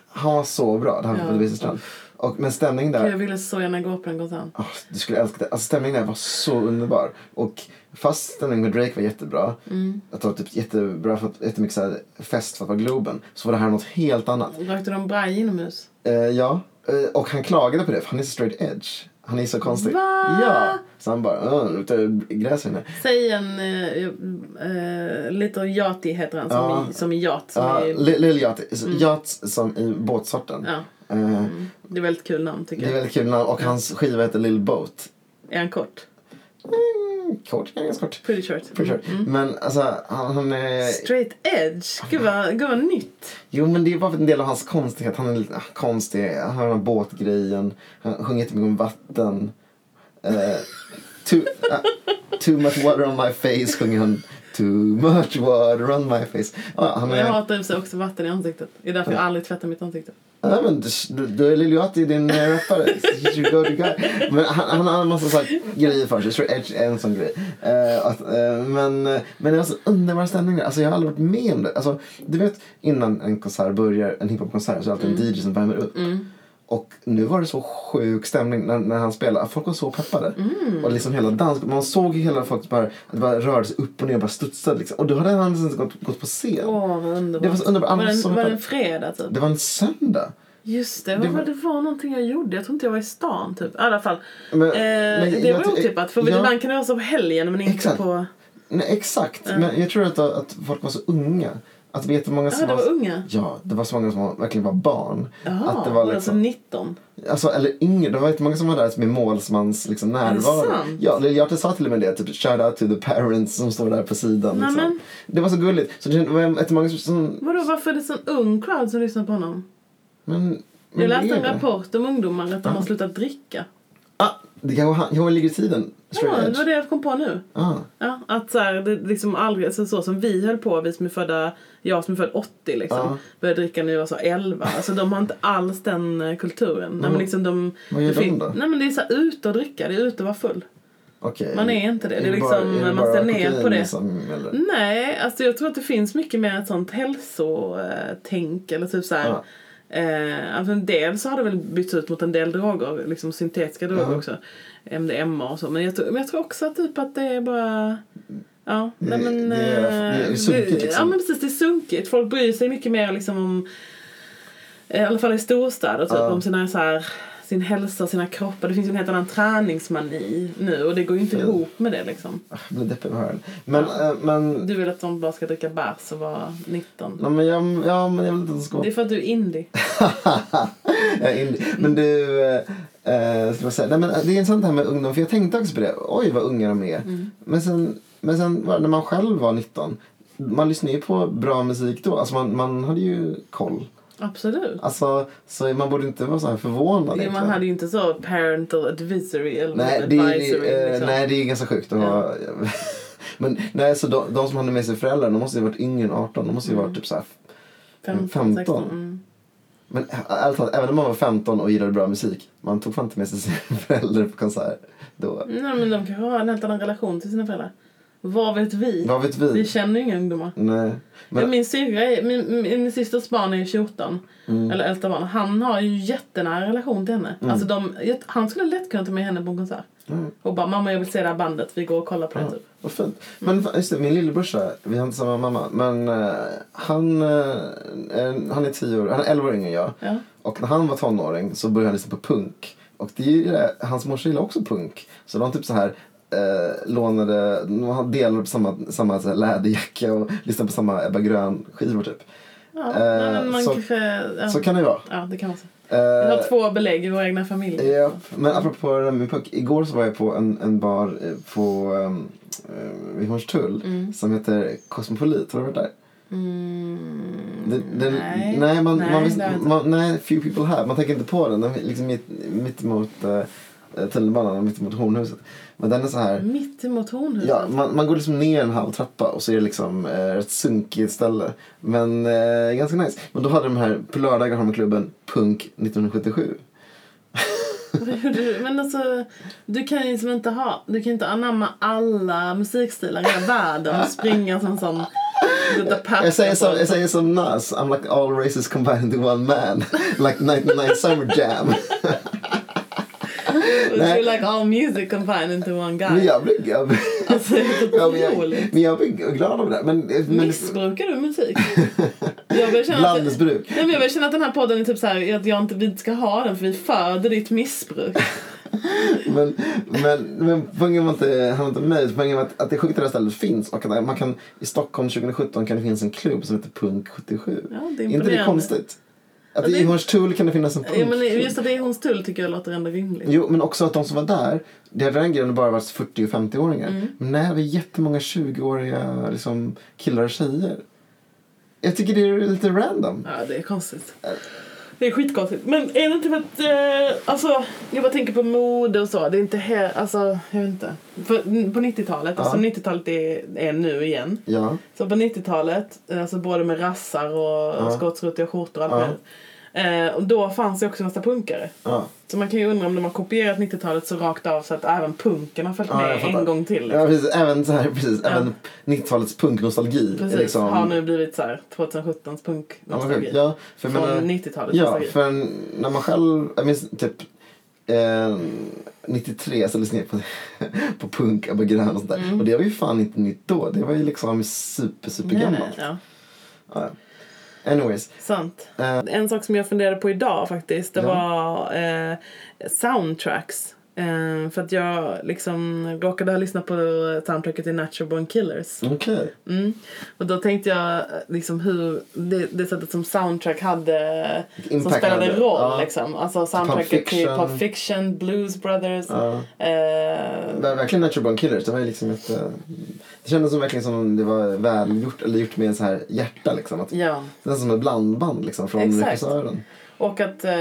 A: han var så bra, det här var
B: Ja.
A: på Devisestrand. Och men stämningen där.
B: Jag ville så gärna gå på den konserten.
A: Ah, du skulle älska det. Alltså stämningen där var så underbar. Och fast stämningen med Drake var jättebra.
B: Mm.
A: Jag tror typ jättebra för att, jättemycket så här fest för att vara Globen. Så var det här något helt annat.
B: Rökte de braj inomhus?
A: Eh, ja. Eh, Och han klagade på det för han är så straight edge. Han är så konstig.
B: Va?
A: Ja. Så han bara, "Åh, det luktar gräs inne.
B: Säg en uh, Little Yachty heter han som,
A: Ja.
B: i, som i yacht. Som
A: Ja,
B: är,
A: li- Lill Yacht, yacht som i båtsorten.
B: ja, Mm.
A: Eh,
B: det är väldigt kul namn tycker
A: Det är
B: jag.
A: väldigt kul namn och hans skiva heter Lill Boat.
B: Är han kort?
A: Mm, kort, ganska kort.
B: Pretty short. Mm.
A: For sure. Men alltså, han, han är...
B: Straight edge. Gud vad, gud vad nytt.
A: Jo, men det är bara en del av hans konstighet. Han är lite ah, konstig. Han har den här båtgrejen. Han sjunger jättemycket om vatten. Eh, too, ah, too much water on my face sjunger han. Too much water on my face. Ja, han
B: Jag
A: är...
B: hatar i och för sig också vatten i ansiktet. Det är därför jag aldrig tvättar mitt ansikte.
A: Ja, men du, du, du är Lil Yachty, din eh, rappare. You go, you go. Men han, han har en massa så här grejer för sig. Jag tror Edge är en sån grej. Eh, att, eh, men, eh, men det var så underbar stämning där. Alltså, jag har aldrig varit med om det. Alltså, du vet, innan en konsert börjar, en hiphopkonsert, så är det alltid en DJ som värmer upp. Och nu var det så sjuk stämning när, när han spelade. Folk var så peppade. Och liksom hela dans, man såg ju hela folk bara, att det bara rörde sig upp och ner och bara studsade. Liksom. Och då hade han liksom gått, gått på scen.
B: Åh, vad underbart.
A: Det var så underbart.
B: Var det,
A: Annars som
B: en, var det
A: att-
B: en fredag typ?
A: Det var en söndag.
B: Just det,
A: det
B: det var,
A: var-
B: det var någonting jag gjorde. Jag tror inte jag var i stan typ. I alla fall.
A: Men-
B: eh,
A: men
B: det typ
A: jag
B: var
A: ty-
B: otippat. För
A: ja.
B: ibland kan det vara så på helgen men inte
A: Exakt.
B: på...
A: Nej, exakt. Men jag tror att, att folk var så unga. Att det var jättemånga som
B: Ja, det var unga.
A: Ja, det var så många som var, verkligen var barn.
B: Jaha,
A: att det var
B: alltså
A: liksom,
B: 19.
A: alltså, eller yngre. Det var jättemånga som var där med målsmans liksom, närvaro.
B: sant?
A: Ja, Lill Hjärtat sa till och med det. Typ, shout out to the parents som står där på sidan.
B: Nej,
A: Liksom.
B: men-
A: Det var så gulligt. Så det var jättemånga som...
B: Vadå, varför är det sån ung crowd som lyssnar på honom?
A: Men, men
B: Jag
A: det
B: läste
A: är
B: en
A: det.
B: rapport om ungdomar att de har slutat dricka.
A: Ah, det kanske han, kanske han ligger i tiden.
B: Ja,
A: Straight
B: det
A: edge.
B: var det jag kom på nu.
A: Ah.
B: Ja, att så här, det liksom aldrig, alltså så som vi höll på, vi som är födda, jag som är född 80 liksom,
A: Ja.
B: började dricka när jag var så 11. Alltså de har inte alls den eh, kulturen. Nej, men liksom de,
A: Vad gör
B: det
A: de
B: fin-
A: då?
B: Nej men det är så här, ut och dricka, det är ut och vara full.
A: Okej.
B: Man är inte det. Det är
A: bara-
B: liksom-
A: det
B: man
A: bara
B: ser ner
A: kokain
B: på det.
A: Liksom, eller?
B: Nej, alltså jag tror att det finns mycket mer ett sånt hälsotänk eller typ så här.
A: Ja.
B: Eh, alltså en del så har det väl bytts ut mot en del droger, liksom syntetiska droger
A: Ja.
B: också. MDMA och så. Men jag, tror, men jag tror också att typ att det är bara... Ja,
A: Det-
B: nej men...
A: det är-
B: eh,
A: det är sunkigt,
B: det-
A: liksom.
B: Ja men precis, det är sunkigt. Folk bryr sig mycket mer liksom om... eh, I alla fall i storstäder typ
A: Ja.
B: om sina så här sin hälsa och sina kroppar. Det finns ju en helt annan träningsmani nu och det går ju inte
A: Ja.
B: ihop med det liksom.
A: Jag blir deppig av att höra det. Men, eh, men
B: Du vill att de bara ska dricka bärs och vara 19.
A: Ja men jag, ja, men jag vill inte att de ska
B: Det är för att du är indie.
A: [LAUGHS] Jag är indie. Men du, eh, eh, ska man säga. Nej, men det är intressant det här med ungdom. För jag tänkte också på det. Oj vad unga de är.
B: Mm.
A: Men sen, men sen var det när man själv var 19. Man lyssnade ju på bra musik då. Alltså man, man hade ju koll.
B: Absolut.
A: Alltså, så man borde inte vara så här förvånad.
B: Jo, man
A: egentligen.
B: hade ju inte så parental advisory eller
A: Nej, det, är ju-
B: advisory.
A: eh,
B: liksom.
A: nej, det är ju ganska sjukt. att ha- [LAUGHS] Men nej, så de, de som hade med sig föräldrar, de måste ju ha varit yngre än 18. De måste ju ha
B: Mm.
A: varit typ så här
B: Femton,
A: 15.
B: sexton, Mm.
A: Men ä- ärligt talat, även om man var 15 och gillade bra musik, man tog fan inte med sig [LAUGHS] sina föräldrar på konsert då.
B: Nej, men de kanske har en helt annan relation till sina föräldrar. Vad vet vi?
A: Vad vet
B: Vi
A: vi?
B: känner ju inga ungdomar.
A: Nej.
B: Men...
A: Men,
B: Min syrra, är- min, min, min systers barn är ju 14.
A: Mm.
B: Eller äldsta barn. Han har ju jättenära relation till henne. Alltså de, han skulle lätt kunna ta med henne på en konsert.
A: Mm.
B: Och bara mamma jag vill se det här bandet, vi går och kollar på det
A: ja,
B: typ.
A: vad fint. Men fa- just det, min lillebrorsa, vi har inte samma mamma, men eh, han, eh, eh, han är 10 år, han är 11 år yngre än jag.
B: Ja.
A: Och när han var tonåring så började han lyssna på punk. Och det är ju det, hans morsa gillar också punk. Så de typ så här eh, lånade, de delade på samma, samma så här läderjacka och lyssnade på samma Ebba Grön-skivor typ.
B: Ja,
A: Eh,
B: nej, men man
A: så-
B: kanske... Ja.
A: Så kan det ju vara.
B: ja, det kan man säga. Vi
A: Eh,
B: har två belägg i våra egna familjer.
A: Ja, men apropå det där med punk. Igår så var jag på en, en bar eh, på, um, vid Hornstull som heter Cosmopolit. Har du varit där?
B: Mm,
A: Den- den-
B: nej.
A: nej, man, man,
B: det har jag
A: visst,
B: inte.
A: man, nej, few people have. Man tänker inte på den. Den är liksom mitt, mitt emot eh, tunnelbanan och mitt emot Hornhuset. Men den är så här.
B: Mitt emot hornhuset?
A: Ja, man, man går liksom ner en halv trappa och så är det liksom eh, ett sunkigt ställe. Men eh, ganska nice. Men då hade de här, på lördagar har de klubben Punk 1977.
B: Du- Men alltså, du kan ju liksom inte ha, du kan inte anamma alla musikstilar i hela världen och springa som sån...
A: Jag säger, som, jag säger som Nas, I'm like all races combined into one man. like 99 Summer Jam.
B: You're like all music combined into one
A: Men
B: guy.
A: jag blir, jag, blir-
B: Alltså, det är helt
A: ja, men jag,
B: otroligt.
A: men jag blir glad av det. Men, men,
B: Missbrukar du musik? Jag börjar känna att,
A: Blandmissbruk.
B: Nej, men jag börjar känna att den här podden är typ så här, att jag inte, vi inte ska ha den för vi föder ditt missbruk.
A: Men, men, men poängen var inte, handlade inte om mig. Poängen var att, att det sjuka det här stället finns. Och att man kan, I Stockholm 2017 kan det finnas en klubb som heter Punk 77.
B: Ja, det är
A: inte det
B: imponerande.
A: konstigt? Att
B: det-
A: i Hornstull kan det finnas en
B: Ja, men
A: punkklubb.
B: just att det är hons tull tycker jag låter ändå rimligt.
A: Jo, men också att de som var där, det hade den grejen bara varit 40 och 50-åringar.
B: Mm.
A: Men nej, det var jättemånga 20-åriga liksom, killar och tjejer. Jag tycker det är lite random.
B: Ja, det är konstigt.
A: Äh.
B: Det är skitkonstigt. Men är det inte för att... Eh, alltså, jag bara tänker på mode och så. Det är inte här... Alltså, jag vet inte. För, på 90-talet,
A: Ja.
B: alltså 90-talet är, är nu igen.
A: Ja.
B: Så på 90-talet, eh, alltså både med rassar och
A: Ja.
B: skottrutiga skjortor och
A: Ja.
B: allt möjligt. eh, Och då fanns det också en massa punkare.
A: ja.
B: Så man kan ju undra om de har kopierat 90-talet så rakt av så att även punken har följt
A: Ja, jag
B: med
A: fattar.
B: en gång till. liksom.
A: Ja, precis. Även, så här, precis, även 90-talets punknostalgi. är
B: Precis,
A: liksom,
B: har nu blivit så här 2017s punk
A: Ja, men sjukt. Ja, för jag
B: Från
A: menar-
B: 90-talets
A: Ja,
B: nostalgi.
A: för när man själv, jag minns typ eh, 93 ställdes ner på, på [LAUGHS] punk, Abba Grön och sånt där.
B: Mm.
A: Och det var ju fan inte nytt då. Det var ju liksom super, super
B: Nej, nej,
A: gammalt.
B: ja.
A: Anyways.
B: Sant.
A: Eh.
B: En sak som jag funderade på idag faktiskt, det
A: Ja.
B: var eh, soundtracks. Eh, för att jag liksom råkade ha lyssnat på soundtracket i Natural Born Killers.
A: Okej.
B: Mm. Och då tänkte jag eh, liksom hur det, det sättet som soundtrack hade som
A: Impact
B: spelade
A: hade.
B: roll
A: Ja.
B: liksom. Alltså soundtracket till
A: Fiction.
B: Pulp Fiction, Blues Brothers.
A: Ja.
B: Eh,
A: Det var verkligen Natural Born Killers. Det var ju liksom ett... eh, Det kändes som verkligen som det var välgjort, eller gjort med en så här hjärta liksom. Att,
B: ja.
A: Det är som ett blandband liksom från
B: Exakt.
A: regissören.
B: Och att, eh,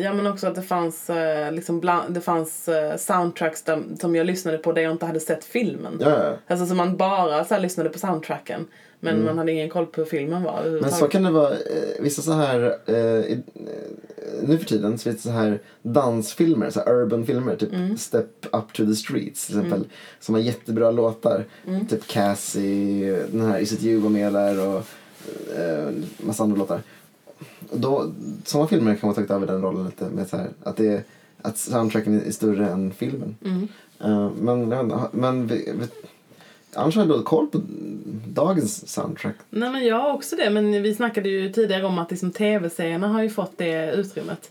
B: ja men också att det fanns, eh, liksom bland, det fanns eh, soundtracks där, som jag lyssnade på där jag inte hade sett filmen.
A: Ja, ja.
B: Alltså som man bara så här, lyssnade på soundtracken. Men man hade ingen koll på hur filmen var
A: Mm. Men
B: överhuvudtaget.
A: så kan det vara, eh, vissa så här, eh, i- eh, nu för tiden så finns det så här dansfilmer, så här urban filmer, typ Step Up To The Streets till exempel, som har jättebra låtar. Typ Cassie, den här Is It You var med där och eh, massa andra låtar. Och Då, sådana filmer kan man ta över den rollen lite med så här, att det är att soundtracken är större än filmen. Eh, men jag vet inte, men vi, vi, annars har jag dålig koll på dagens soundtrack.
B: Nej men jag har också det. Men vi snackade ju tidigare om att liksom, tv-serierna har ju fått det utrymmet.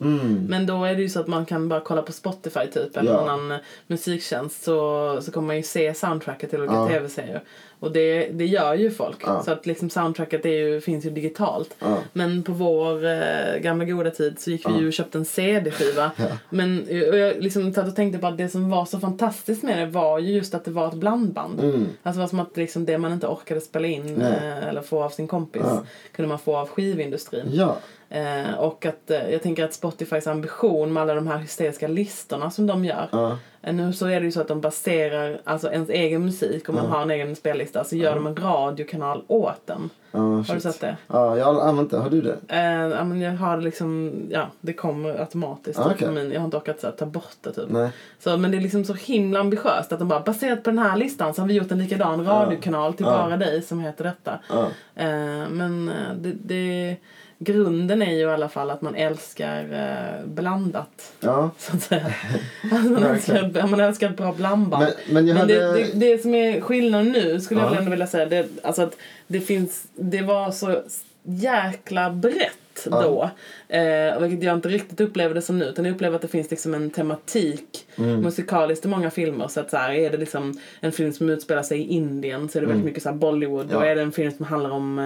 B: Men då är det ju så att man kan bara kolla på Spotify typ eller
A: Mm. Ja.
B: någon annan eh, musiktjänst så, så kommer man ju se soundtracket till olika
A: Ja.
B: tv-serier. Och det, det gör ju folk.
A: Ja.
B: Så att liksom soundtracket är ju, finns ju digitalt.
A: Ja.
B: Men på vår eh, gamla goda tid så gick vi ju och köpte en CD-skiva. Men eh, och jag liksom satt och tänkte på att det som var så fantastiskt med det var ju just att det var ett blandband. Alltså det var som att liksom det man inte orkade spela in
A: Mm. Nej.
B: eh, eller få av sin kompis
A: Ja.
B: kunde man få av skivindustrin.
A: Ja.
B: Eh, och att eh, jag tänker att Spotifys ambition med alla de här hysteriska listorna som de gör.
A: Ja.
B: Eh, Nu så är det ju så att de baserar alltså ens egen musik, om man har en egen spellista, så gör de en radiokanal åt den.
A: Ja,
B: Har du
A: shit.
B: sett det?
A: Ja, jag har använt det. Har du det?
B: Eh, ja, men jag har liksom, ja, det kommer automatiskt.
A: Ah,
B: Ah,
A: okej.
B: men jag har inte orkat så här, ta bort det typ.
A: Nej.
B: Så, men det är liksom så himla ambitiöst att de bara baserat på den här listan så har vi gjort en likadan radiokanal till
A: Ja.
B: bara dig som heter detta.
A: Ja.
B: Eh, men eh, det, det, grunden är ju i alla fall att man älskar eh, blandat.
A: Ja.
B: [LAUGHS] Så
A: [LAUGHS]
B: att säga. Alltså, man, älskar, ja, man älskar ett bra blandband.
A: Men, men jag
B: Men
A: hade...
B: det, det, det som är skillnaden nu skulle jag
A: Ja.
B: väl ändå vilja säga det, alltså att det finns, det var så jäkla brett
A: Ja.
B: då. Eh, vilket jag inte riktigt upplever det som nu utan jag upplever att det finns liksom en tematik
A: Mm.
B: musikaliskt i många filmer. Så att så här, är det liksom en film som utspelar sig i Indien så är det väldigt mycket så här Bollywood
A: Mm. Ja.
B: och är det en film som handlar om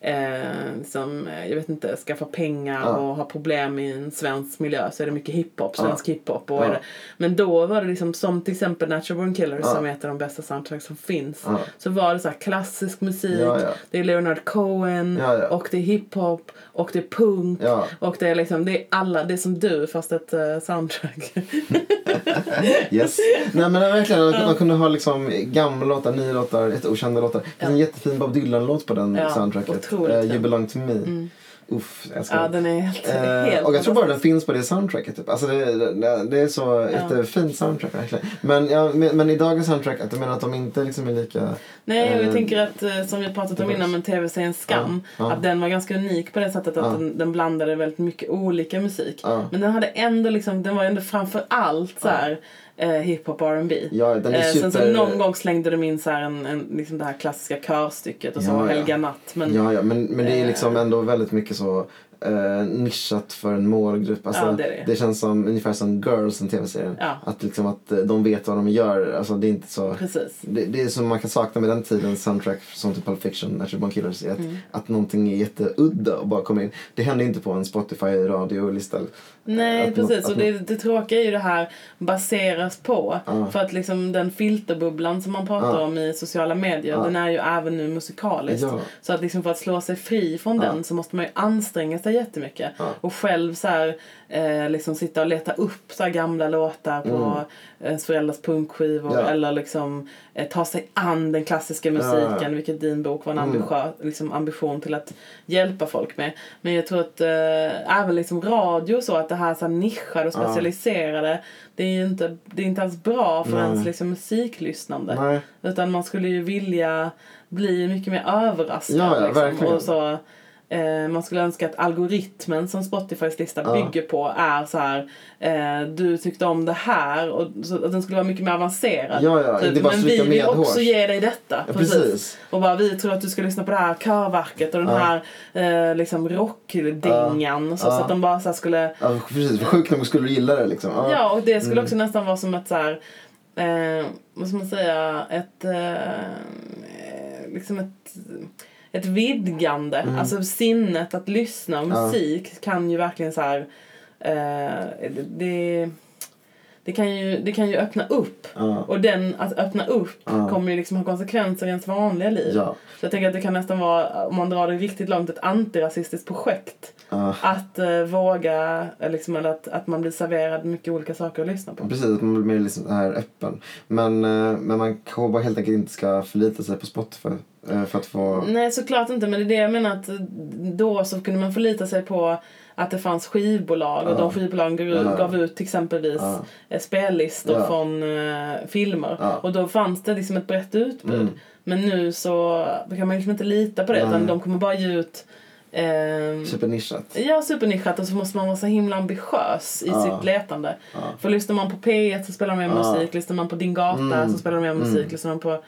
B: eh, eh, liksom, eh, jag vet inte, skaffa pengar
A: Ja.
B: och ha problem i en svensk miljö så är det mycket hiphop,
A: Ja.
B: svensk hiphop. Och
A: Ja.
B: är det, men då var det liksom som till exempel Natural Born Killers
A: Ja.
B: som är ett av de bästa soundtrack som finns.
A: Ja.
B: Så var det så här klassisk musik,
A: Ja, ja.
B: det är Leonard Cohen
A: Ja, ja.
B: och det är hiphop och det är punk
A: Ja.
B: och det är liksom det är alla, det är som du fast ett eh,
A: [LAUGHS]
B: soundtrack. [LAUGHS]
A: Yes. Nej, men verkligen. De kunde ha liksom gamla låtar, nya låtar, jätteokända låtar. Det finns en jättefin Bob Dylan-låt på den
B: Ja,
A: soundtracket.
B: otroligt
A: eh,
B: fin. Mm.
A: you belong to me. Uff, jag ska...
B: Ja, den är helt,
A: Eh,
B: helt
A: och jag tror bara den
B: fantastisk.
A: finns på det soundtracket. Typ. Alltså det, det, det är så ett eh, fint soundtrack verkligen. Men, ja, men, men i dagens soundtrack, att du menar att de inte liksom är lika...
B: Nej, och
A: eh,
B: jag tänker att eh, som vi pratat om
A: det-
B: innan med tv-serien Skam,
A: Ja, ja.
B: att den var ganska unik på det sättet att
A: Ja.
B: den, den blandade väldigt mycket olika musik.
A: Ja.
B: Men den hade ändå liksom, den var ändå framför allt så här eh, hiphop och R&B.
A: Ja, den är
B: Eh,
A: super...
B: Sen så någon gång slängde de in så här en, en, liksom det här klassiska körstycket och så
A: Ja,
B: var
A: ja.
B: Helga Natt. Men
A: Ja, ja men, men det är
B: Eh.
A: liksom ändå väldigt mycket så eh, nischat för en målgrupp. Alltså,
B: Ja, det är det.
A: känns som ungefär som Girls, den tv-serien.
B: Ja.
A: Att, liksom, att eh, de vet vad de gör. Alltså, det är inte så...
B: precis.
A: Det, det är som man kan sakna med den tidens soundtrack som typ Pulp Fiction, Natural Born Killers, är att,
B: Mm.
A: att någonting är jätteudda och bara kommer in. Det händer inte på en Spotify-radiolista.
B: Nej,
A: att något-
B: precis.
A: att
B: och det, det tråkiga är ju det här baseras på.
A: Ja.
B: För att liksom den filterbubblan som man pratar
A: Ja.
B: om i sociala medier,
A: Ja.
B: den är ju även nu musikalisk.
A: Ja.
B: Så att liksom för att slå sig fri från
A: Ja.
B: den så måste man ju anstränga sig jättemycket.
A: Ja.
B: Och själv så här, eh, liksom sitta och leta upp så här gamla låtar på
A: Mm.
B: ens föräldrars punkskivor.
A: Ja.
B: Eller liksom eh, ta sig an den klassiska musiken, vilket din bok var en
A: Mm.
B: ambitiö- liksom ambition till att hjälpa folk med. Men jag tror att eh, även liksom radio och så, att det här, så här nischade och
A: Ja.
B: specialiserade, det är ju inte, det är inte alls bra för
A: Nej.
B: ens liksom, musiklyssnande.
A: Nej.
B: Utan man skulle ju vilja bli mycket mer överraskad.
A: Ja, ja,
B: liksom.
A: verkligen.
B: och så, eh, man skulle önska att algoritmen som Spotifys lista
A: Ja.
B: bygger på är så här eh, du tyckte om det här och så, att den skulle vara mycket mer avancerad. Typ.
A: Ja, ja, inte bara
B: men vi
A: stryka
B: vill
A: medhårs."
B: också ge dig detta.
A: Ja,
B: precis.
A: precis.
B: Och bara vi tror att du ska lyssna på det här körverket och den
A: Ja.
B: här eh, liksom rockdängan. och Så,
A: Ja.
B: så att de bara så här skulle
A: Ja, precis. För Sjukt nog skulle du gilla det liksom. Ja.
B: Ja, och det skulle också nästan vara som ett så här, eh, vad ska man säga, ett, eh, liksom ett, ett vidgande. Alltså sinnet att lyssna och
A: Mm. Ja.
B: musik kan ju verkligen så här, eh, det- det, det, kan ju, det kan ju öppna upp.
A: Ja.
B: Och den att öppna upp
A: Ja.
B: kommer ju liksom ha konsekvenser i ens vanliga liv.
A: Ja.
B: Så jag tänker att det kan nästan vara, om man drar det riktigt långt, ett antirasistiskt projekt.
A: Ja.
B: Att eh, våga, eh, liksom, eller att, att man blir serverad mycket olika saker att lyssna på.
A: Precis, att man blir mer liksom så här öppen. Men, eh, men man kanske bara helt enkelt inte ska förlita sig på Spotify eh, för att få...
B: Nej, såklart inte. Men det är det jag menar att eh, då så kunde man förlita sig på att det fanns skivbolag och
A: Ja.
B: de skivbolagen gav, ut-
A: Ja.
B: gav ut till exempelvis
A: Ja.
B: eh, spellistor
A: Ja.
B: från eh, filmer.
A: Ja.
B: Och då fanns det liksom ett brett utbud.
A: Mm.
B: Men nu så kan man liksom inte lita på det
A: Nej.
B: utan de kommer bara ge ut ehm,
A: typ Supernischat.
B: Ja, supernischat och så måste man vara så himla ambitiös i
A: Ja.
B: sitt letande.
A: Ja.
B: För lyssnar man på P1 så spelar de med
A: Ja.
B: musik, lyssnar man på Din Gata
A: Mm.
B: så spelar de med musik, lyssnar man på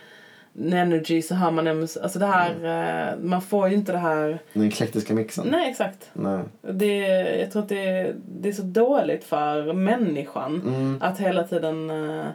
B: Energy så hör man en musik. Alltså det här,
A: Mm.
B: eh, man får ju inte det här.
A: Den eklektiska mixen.
B: Nej, exakt.
A: Nej.
B: Det, jag tror att det, det är så dåligt för människan
A: Mm.
B: att hela tiden... eh,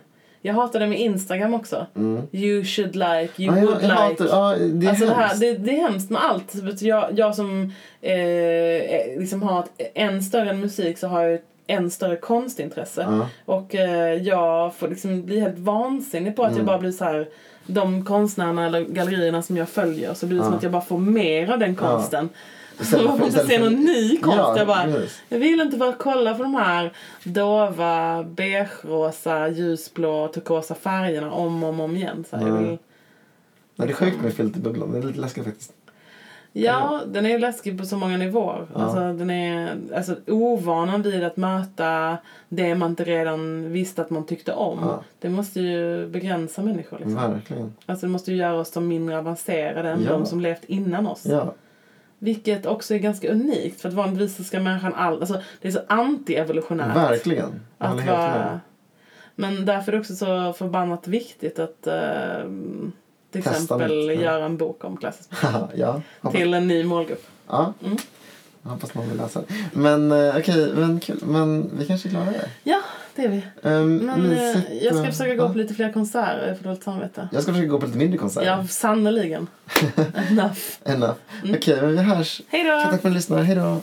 B: jag hatar det med Instagram också.
A: Mm.
B: You should like, you
A: Ja, jag,
B: would
A: jag
B: like.
A: hatar, ja, det är
B: Alltså det, här,
A: hemskt.
B: det, det är hemskt med allt. Vet du, Jag, jag som eh, eh, liksom har ett, en större än musik så har jag ett än större konstintresse.
A: Ja.
B: Och eh, jag får liksom bli helt vansinnig på att
A: Mm.
B: jag bara blir så här de konstnärerna eller gallerierna som jag följer så blir det som
A: Ja.
B: att jag bara får mer av den konsten.
A: Istället
B: [LAUGHS] Man
A: för-
B: får inte se
A: istället för-
B: någon ny konst.
A: Ja,
B: jag, bara,
A: precis.
B: jag vill inte bara kolla på de här dova, beige-rosa, ljusblå, turkosa färgerna om och om, och om igen. Så här, jag
A: Nej.
B: vill,
A: Nej, det är sjukt med filterbubblan. Det är lite läskigt faktiskt.
B: Ja, den är läskig på så många nivåer.
A: Ja.
B: Alltså, den är alltså, ovanan vid att möta det man inte redan visste att man tyckte om.
A: Ja.
B: Det måste ju begränsa människor. Liksom.
A: Verkligen.
B: Alltså, det måste ju göra oss som mindre avancerade än
A: Ja.
B: de som levt innan oss.
A: Ja.
B: Vilket också är ganska unikt. För att vanligtvis så ska människan all... Alltså, det är så anti-evolutionärt.
A: Verkligen. Jag håller
B: Att
A: helt
B: vara...
A: med.
B: Men därför är det också så förbannat viktigt att eh, till
A: Testa
B: exempel
A: nytt, ja.
B: göra en bok om klassisk musik
A: Haha, [LAUGHS] ja. Hoppas,
B: till en ny målgrupp.
A: ja.
B: Mm.
A: Hoppas någon vill läsa den. Men eh, okej, men kul. Men vi kanske klarar det.
B: Ja, det är vi.
A: Um,
B: Men eh, jag ska försöka gå på lite fler konserter för dåligt samvete.
A: Jag ska försöka gå på lite mindre konserter.
B: Ja, Mm. sannerligen. Enough.
A: Enough. Okej, men vi hörs.
B: Hej då!
A: Tack för att ni lyssnade. Hej då.